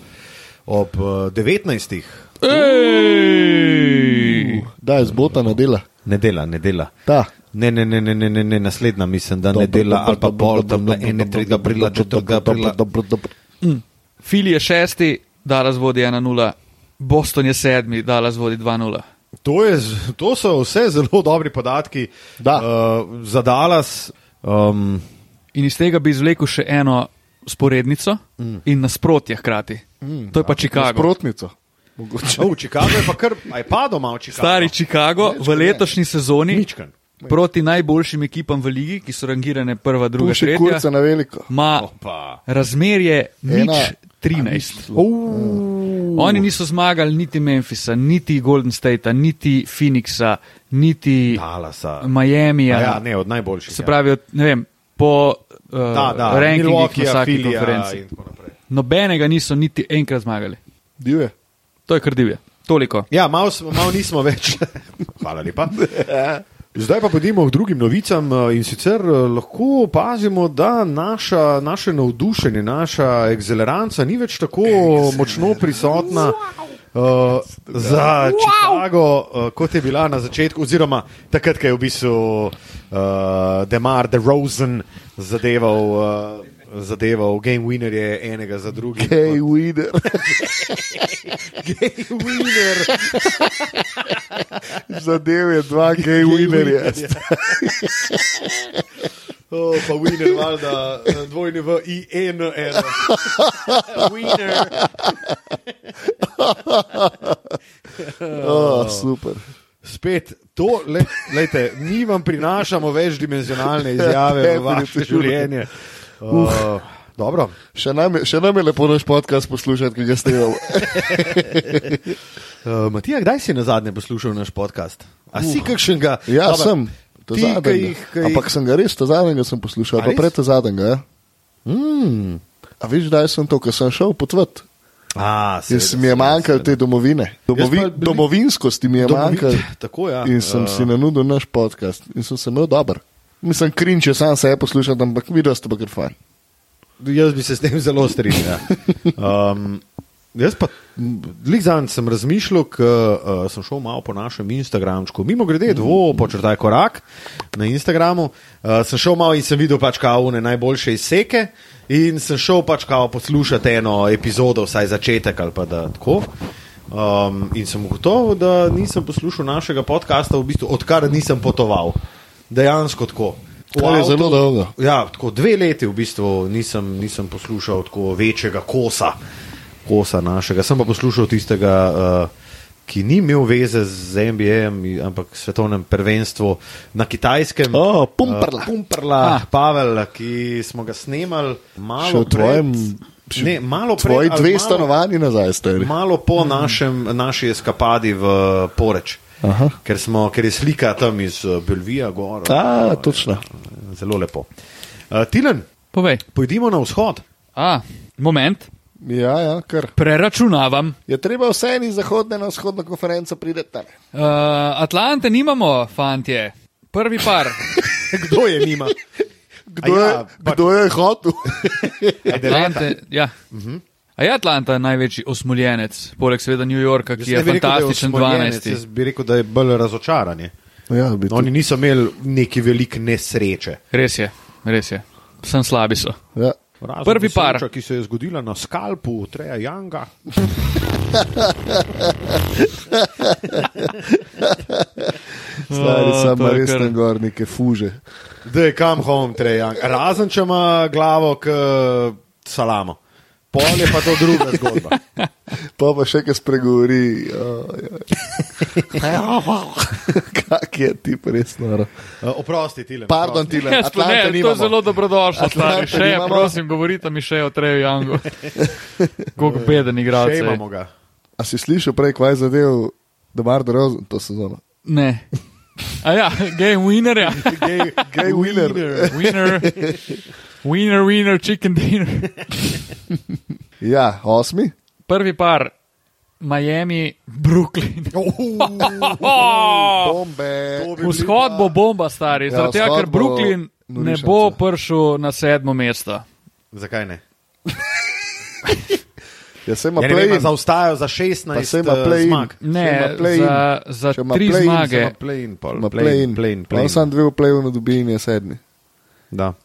S3: ob eh, 19.
S4: Ej!
S2: Da, izbota na dela.
S3: Nedela, nedela.
S2: Da.
S3: Ne, ne, ne, ne, ne, ne, ne, naslednja mislim, da
S2: Dobro,
S3: nedela
S2: dobro,
S3: ali pa
S2: dobro,
S3: pol
S2: dobro,
S3: tam na
S2: dobro,
S3: 31.
S2: dobro,
S3: aprila,
S2: dobro,
S3: 4.
S2: dobro,
S3: aprila.
S2: dobro, dobro.
S4: Fili je šesti, Dallas vodi 1-0, Boston je sedmi, Dallas vodi 2-0.
S3: To, je, z- to so vse zelo dobri podatki
S2: Da.
S3: uh, za Dallas. Um,
S4: In iz tega bi izvlekel še eno sporednico mm. in nasprotje hkrati. Mm, to je pa Chicago.
S2: Sprotnico. Mogoče.
S3: Oh, v Chicagu je pa kar, aj padel malo Chicago.
S4: Stari Chicago v letošnji sezoni
S3: Ničkan.
S4: proti najboljšim ekipam v ligi, ki so rangirane prva, druga,
S2: Puši kurca
S4: tretja,
S2: na veliko.
S4: ima
S3: Opa.
S4: razmerje nič
S2: Ena-
S4: 13. Oni niso zmagali niti Memphisa, niti Golden State, niti Phoenixa, niti
S3: Dalasa.
S4: Miamija.
S3: Ja, ja, ne, od najboljših.
S4: Se pravi, od, ne vem, po uh,
S3: ja. da, da,
S4: rankingih na
S3: Milwaukee,
S4: vsaki
S3: Philly
S4: konferenci.
S3: in tako naprej.
S4: Nobenega niso niti enkrat zmagali.
S2: Divje.
S4: To je krdivje. Toliko.
S3: Ja, malo smo- malo nismo več. [LAUGHS] Ja. Hvala lepa. Zdaj pa pojdimo k drugim novicam eh, in sicer eh, lahko opazimo, da naša, naše navdušenje, naša ekseleranca ni več tako močno prisotna uh, za Chicago, uh, kot je bila na začetku, oziroma takrat, ko je v bistvu uh, Demar de Rosen zadeval, uh, zadeval game winnerje enega za drugim.
S2: Hej, Wider.
S3: Game winner.
S2: [LAUGHS] Zadev je dva gej winerja. [LAUGHS]
S3: Oh, pa winner, valjda, dvojni v
S2: E [LAUGHS]
S3: INR. winner.
S2: Oh, super.
S3: Spet to, le, lejte, mi vam prinašamo
S2: [LAUGHS]
S3: večdimenzionalne izjave v vaše
S2: Ja, Definitivno.
S3: življenje. Uh, dobro.
S2: Še nam, je, še nam je lepo naš podcast poslušati, ki ga ste imeli. [LAUGHS]
S3: Uh, Matija, kdaj si na zadnje poslušal naš podcast? A si kakšnega?
S2: Ja,
S3: Dobro,
S2: sem. ta
S3: Ti,
S2: zadnjega.
S3: ki jih. ki jih-
S2: Ampak sem ga res, ta zadnjega sem
S3: A
S2: poslušal, pa
S3: res?
S2: pred ta zadnjega. ja.
S3: Mm.
S2: A veš, kdaj sem to, ker sem šel potvud.
S3: A,
S2: Jaz
S3: seveda,
S2: mi je
S3: seveda,
S2: manjkalo te
S3: seveda.
S2: domovine. Domovi,
S3: pa bili-
S2: domovinskosti mi je
S3: Domovi-
S2: manjkalo.
S3: Tako, ja.
S2: In sem
S3: Eh,
S2: si nanudil naš podcast in sem se imel dober. Mislim, krin, če sam se je poslušal, ampak videl ste pa kar fajn.
S3: Jaz bi se s tem zelo strinjal. ja. Um, jaz pa, Ligzan, sem razmišljal, ker uh, sem šel malo po našem Instagramčku, mimo grede, dvo, počrtaj korak na Instagramu. Uh, sem šel malo in sem videl pač kao une najboljše izseke in sem šel pač kao poslušati eno epizodo, vsaj začetek ali pa da tako. Um, in sem ugotovil, da nisem poslušal našega podcasta, v bistvu, odkar nisem potoval. Dejansko tako.
S2: To je zelo dolgo.
S3: Ja, tako dve leti v bistvu nisem, nisem poslušal tako večjega kosa, kosa našega. Sem pa poslušal tistega, uh, ki ni imel veze z NBA-jem, ampak svetovnem prvenstvu na kitajskem.
S2: O, Pumperla.
S3: Pumperla,
S4: Ah.
S3: ah. Pavel, ki smo ga snemali malo
S2: Še v
S3: pred-
S2: tvojem,
S3: Ne, malo pred,
S2: tvoji
S3: ali
S2: dve
S3: malo-
S2: stanovanji Hmm. nazaj, stari.
S3: Malo po našem, naši eskapadi v Poreč,
S2: Aha. Ah,
S3: ker, smo, ker je slika tam iz eh, Belvija, gor.
S2: A, točno.
S3: Zelo lepo. Uh, Tilen,
S4: Povej.
S3: pojdimo na vzhod. [LAUGHS]
S4: A, moment,
S2: Ja, ja, kar.
S4: preračunavam.
S2: Je treba vse iz zahodne na vzhodno konferenco prideti.
S4: Uh, Atlante nimamo, fantje. Prvi par.
S3: Kdo je nima?
S2: Kdo, ja, je, kdo je hotel?
S4: Atlante, ja. A je Atlanta največji osmoljenec, poleg seveda New Yorka, ki je fantastičen 12.
S3: Jaz bi rekel, da je bolj razočaranje.
S2: [LAUGHS] ja, bi
S3: Oni niso imeli neki velike nesreče.
S4: Res je, res je. Sem slabi so.
S2: ja.
S3: Razen
S4: Prvi par.
S3: nesreča, ki se je zgodila na skalpu, Treja Janga.
S2: Stari
S4: O,
S2: sem
S4: to je
S2: res
S4: kar.
S2: tam gor, neke fuže.
S3: Da je kam home, Treja Janga. Razen če ima glavo k eh, salamo. Pol je pa to druga zgodba. [LAUGHS]
S2: Pa pa še kaj spregovori. o, ja. [LAUGHS] Kak je ti res noro.
S3: Eh, Oprosti, Tilen.
S2: Pardon,
S3: oprosti.
S2: ti le.
S4: Jaz pa Ja, ne, to je zelo dobrodošlo, stari.
S2: Atlante
S4: Še,
S2: nimamo.
S4: prosim, govorite mi še o Treju Jangu. Kako beden
S3: Še
S4: igralec. je.
S3: imamo ga.
S2: A si slišal prej, kaj je zadev, da mar dorozen to sezono?
S4: Ne. A ja, game winner, ja.
S3: Gay,
S2: Gay
S3: [LAUGHS]
S2: winner.
S4: Winner, winner, winner, chicken dinner.
S2: Ja,
S4: [LAUGHS]
S2: osmi.
S4: Prvi par, Miami,
S2: [LAUGHS]
S4: Brooklyn.
S2: Bombe.
S4: Vzhod bo bomba, stari,
S2: Ja,
S4: zaradi tega,
S2: vzhod
S4: ker
S2: bo
S4: Brooklyn ne
S2: norišnica.
S4: bo prišel na sedmo mesto.
S3: Zakaj ne?
S2: Ja, se ima
S3: Ja, ne vem, a
S2: play.
S3: zaostajajo za
S2: Pa
S3: 16
S2: se ima play.
S3: zmag.
S4: Ne, za, za tri zmage.
S3: Plain, pol,
S2: Ima
S3: plain,
S2: play.
S3: plain,
S2: On
S3: plain.
S2: sam dve v playu na dobini je sedmi.
S3: Da.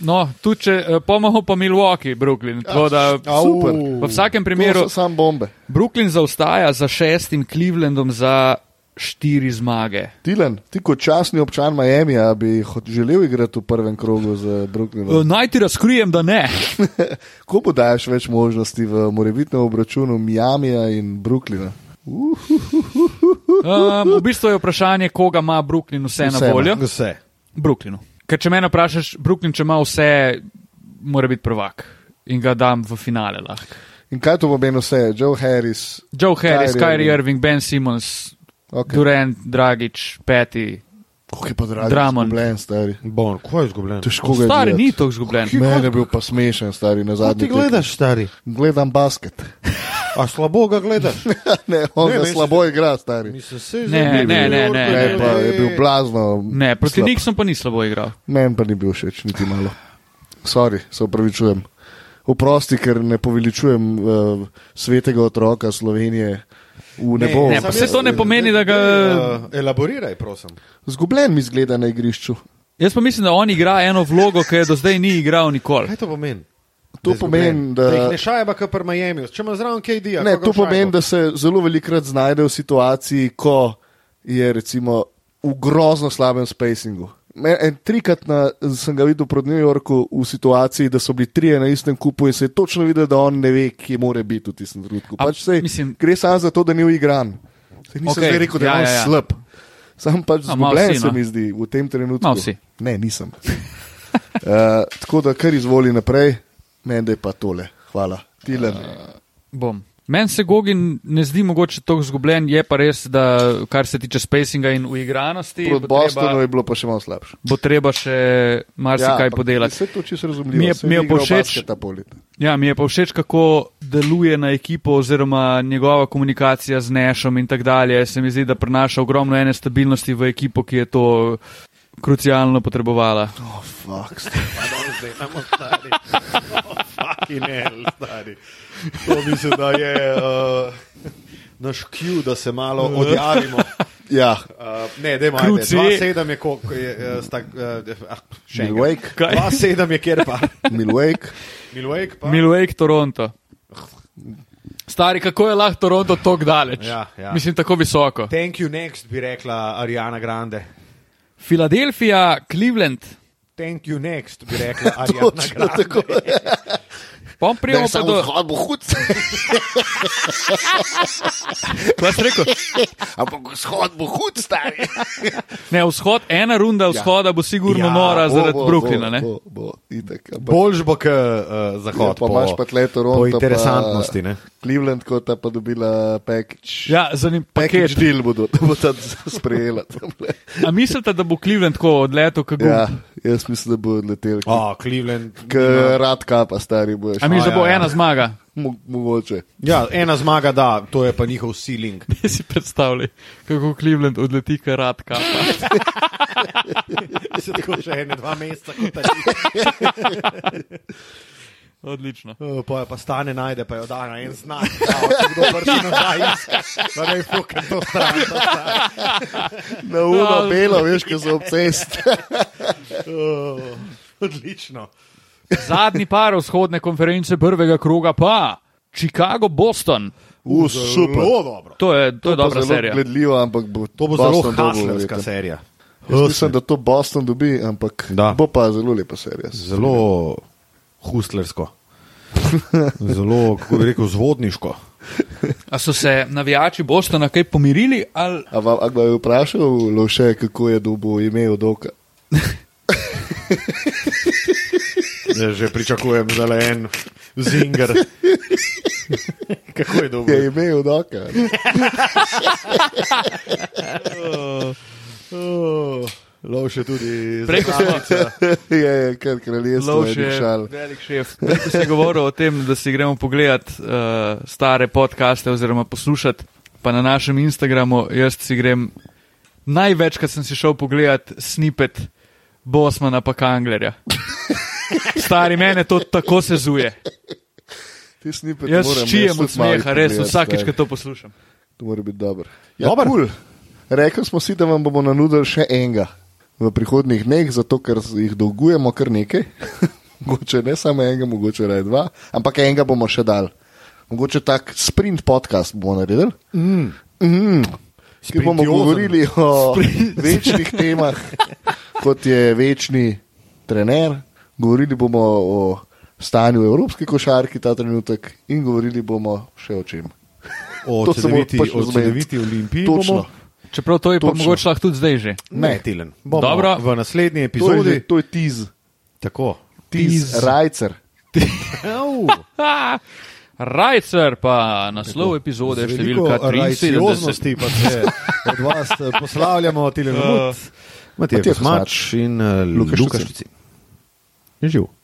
S4: No, tu če pomahamo pa Milwaukee, Brooklyn. Tako da
S2: super.
S4: v vsakem
S2: Ja, To
S4: primeru
S2: so Sam bombe.
S4: Brooklyn zaostaja za šestim Clevelandom za štiri zmage.
S2: Tilen, ti kot časni občan Miami, a bi hot- želel igrati v prvem krogu z [LAUGHS] Brooklynom.
S4: Eh, Naj ti razkrijem, da
S2: [LAUGHS]
S4: ne.
S2: Ko bo daješ več možnosti v morebitnem obračunu Miamija in Brooklyna?
S4: Um, v bistvu je vprašanje, koga ima Brooklyn vse, vse na
S2: Vse
S4: voljo.
S3: Vse.
S4: Brooklynu. Ker če me vprašaš, Brooklyn, če ima vse, mora biti prvak in ga dam v finale. Lahko.
S2: In kaj to pomeni vse? Joe Harris,
S4: Joe Harris,
S2: Kyrie
S4: Kyrie Irving, Ben Simmons, okay.
S2: okay.
S4: Durant, Dragič, Peti.
S2: kako je pa dragi,
S4: Drummond.
S2: Blen, stari.
S3: Bon, ko je izgubljen?
S2: Težko ga je.
S4: Stari
S2: gledati.
S4: ni tako zgubljen.
S2: Mene je bil pa smešen, stari na
S3: Kaj
S2: zadnji.
S3: ti
S2: tekmi.
S3: gledaš, stari?
S2: Gledam basket. [LAUGHS]
S3: A slabo ga gledaš?
S2: ne, on
S3: Ne,
S2: je
S3: ne,
S2: slabo igra, stari.
S3: Mislim, se je
S4: Ne,
S3: zdaj
S4: ne,
S3: bil
S4: ne,
S3: Jordan,
S4: ne,
S2: Ne, pa je bil blazno.
S4: Ne, proti
S2: slab.
S4: Nixon pa ni slabo igral.
S2: Meni pa ni bil všeč, niti malo. Sorry, se upravičujem. Oprosti, ker ne poveličujem uh, svetega otroka Slovenije v nebo.
S4: ne, pa saj to ne pomeni, da ga-
S3: Eh, Elaboriraj, prosim.
S2: Zgubljen mi zgleda na igrišču.
S4: Jaz pa mislim, da on igra eno vlogo, ki je do zdaj ni igral nikoli.
S3: Kaj to pomeni?
S2: To
S3: je izgubljen?
S2: pomeni, da-
S3: Da jih ne šajba, kot pri Miami. Če ima zraven KD,
S2: Ne, to pomeni, da se zelo velikokrat znajde v situaciji, ko je recimo v grozno slabem spacingu. Me- En trikrat na, sem ga videl proti New Yorku v situaciji, da so bili trije na istem kupu in se je točno videl, da on ne ve, kje mora biti v tistem trenutku.
S4: A,
S2: Pač sej,
S4: mislim-
S2: mislim, gre samo za to, da ni uigran. Sej nisem
S4: Okej,
S2: okay, rekel, da je
S4: ja,
S2: ja, on
S4: ja,
S2: ja,
S4: ja.
S2: ja. slab. Sam pač
S4: No, malo
S2: zgubljen
S4: si,
S2: se
S4: no.
S2: mi zdi v tem trenutku.
S4: Malo si.
S2: Ne,
S4: [LAUGHS]
S2: nisem. uh, tako da kar izvoli naprej, meni da je pa tole. Hvala. Tilen.
S4: Eh, Bom. Meni se Gogin ne zdi mogoče tako zgubljen, je pa res, da kar se tiče spacinga in uigranosti,
S2: Proti
S4: bo
S2: Bostonu
S4: treba,
S2: je bilo pa še malo slabše.
S4: bo treba še marsikaj ja,
S2: ampak
S4: podelati.
S2: Vse to čisto
S4: Mi
S2: razumljivo.
S4: je- mi je pa všeč-
S2: ta polit.
S4: Ja, mi je pa všeč, kako deluje na ekipo oziroma njegova komunikacija z Nešom in tako dalje. Se mi zdi, da prinaša ogromno ene stabilnosti v ekipo, ki je to krucialno potrebovala.
S2: Oh, fuck.
S3: Imamo
S2: [LAUGHS]
S3: stari. Fucking hell, stari. To mislim, da je uh, naš Q, da se
S2: [LAUGHS]
S3: malo odjavimo.
S2: Ja,
S3: Uh, ne, dajmo, ajde,
S4: Kruci.
S3: 2-7 je koliko je, uh, sta, uh, ah, še enkrat.
S2: Milwake,
S3: 2-7 je kjer
S2: [LAUGHS]
S3: pa.
S4: [LAUGHS]
S2: Milwake.
S3: Milwake pa.
S4: Milwaukee, Toronto. Stari, kako je lahko Toronto tako daleč?
S3: Ja, ja.
S4: Mislim, tako visoko.
S3: Thank you next, bi rekla Ariana Grande.
S4: Filadelfija, Cleveland,
S1: Thank you next, bi rekla Ariana
S2: [LAUGHS] Točno
S1: Grande.
S2: tako je.
S4: pom
S2: Ne,
S4: prijemo Ja, pa
S2: samo
S4: do.
S2: vzhod bo hud, [LAUGHS]
S4: Kaj si rekel?
S2: ampak vzhod bo hud,
S4: [LAUGHS]
S2: stari.
S4: Ne, vzhod, ena runda vzhoda bo sigurno ja, nora zaradi
S2: Bo, bo,
S4: Brooklyna. ne.
S2: Bo, bo, itak. Ampak
S3: Boljš bo, kot uh,
S2: Ja,
S3: zahod.
S2: pa imaš pa tle Toronto.
S3: Po
S2: pa
S3: interesantnosti. ne.
S2: Cleveland, ko ta pa dobila package.
S4: Ja, zanim
S2: Package
S4: paket.
S2: deal bodo, [LAUGHS] da bo ta sprejela. tamle.
S4: A mislite, da bo Cleveland tako odletel, kako je?
S2: Ja, jaz mislim, da bo odletel.
S3: A, Ah, Cleveland.
S2: Rad kapa, stari boš. no,
S4: A mi že
S3: A,
S4: bo
S3: ja, ja.
S4: ena [LAUGHS] zmaga.
S2: Mo mogoče.
S3: Ja, ena zmaga, da, to je pa njihov ceiling.
S4: Ne si predstavljaj, kako Cleveland odleti karatka.
S3: [LAUGHS] Se tako še ene, dva meseca, kot ta. [LAUGHS]
S4: Odlično.
S3: Pa jo pa stane najde, pa jo da na en znak. [LAUGHS] Ja, kdo prši nazaj, da ne fucking to stran.
S2: Na
S4: Ja.
S2: uno no. belo, veš, ko so ob cest.
S3: Uh, Odlično.
S4: Zadnji par vzhodne konference prvega kroga pa Chicago, Boston.
S2: U,
S3: Zelo dobro.
S4: To je, to je
S2: pa
S4: [LAUGHS] dobra
S2: zelo
S4: serija.
S2: Gledljivo, ampak bo
S3: To bo
S2: Boston
S3: zelo
S2: dobil,
S3: haslerska
S2: verjetno.
S3: serija.
S2: Jaz mislim, da to Boston dobi, ampak
S3: Da.
S2: bo pa zelo lepa serija.
S3: Zelo [LAUGHS] hustlersko. Zelo, kako bi rekel, zvodniško.
S4: A so se navijači Bostona kaj pomirili? Ali...
S2: A vam a ga je vprašal, Loše, kako je dobil ime od oka?
S3: Ja, že pričakujem za le en [LAUGHS] zinger. Kako je dobro?
S2: Je ime od oka.
S3: Oh, lov še tudi
S4: Preko smo.
S2: [LAUGHS] je, je kar kraljestvo, je
S4: Lovše,
S2: dišal.
S4: velik šef. Preko se je govoril o tem, da si gremo pogledati uh, stare podcaste oziroma poslušati. Pa na našem Instagramu jaz si grem največkrat sem si šel pogledat snipet Bosmana pa Kanglerja. Stari mene to tako sezuje.
S2: Ti snipe,
S4: Jaz šijem od smeha, res vsakeč, ko to poslušam.
S2: To mora biti dobro. Ja,
S3: Dober.
S2: cool. Rekli smo si, da vam bomo nanudili še enega v prihodnih dneh, zato ker z- jih dolgujemo kar nekaj. [LAUGHS] mogoče ne samo enega, mogoče raje dva, ampak enega bomo še dal. Mogoče tak sprint podcast bomo naredili. Mm. Mm. Ki bomo
S3: Sprintiozen.
S2: govorili o večnih temah, kot je večni trener, govorili bomo o stanju evropske košarke ta trenutek in govorili bomo še o čem.
S3: o
S2: To se bo
S3: celoviti,
S2: pač
S3: o
S2: zmeniti.
S3: celoviti olimpiji.
S2: Točno.
S3: bomo-
S4: Čeprav to je pa
S2: Točno.
S4: mogoče lahko tudi zdaj že.
S3: Ne, Tilen. Bomo
S4: Dobro.
S3: V naslednji
S2: To je, že-
S3: epizodi.
S2: to je tiz.
S3: Tako.
S2: Tiz Rajcer.
S4: [LAUGHS]
S3: Au.
S4: Ha! Rajcer pa naslov epizode je številka 73.
S3: rajcioznosti pa se od vas eh,
S2: [LAUGHS]
S3: poslavljamo, Tilen. Uh, Matija
S2: Matija
S3: Kosmač in eh,
S2: Luka
S3: Luka
S2: Štucin.
S3: Štucin. Je živ.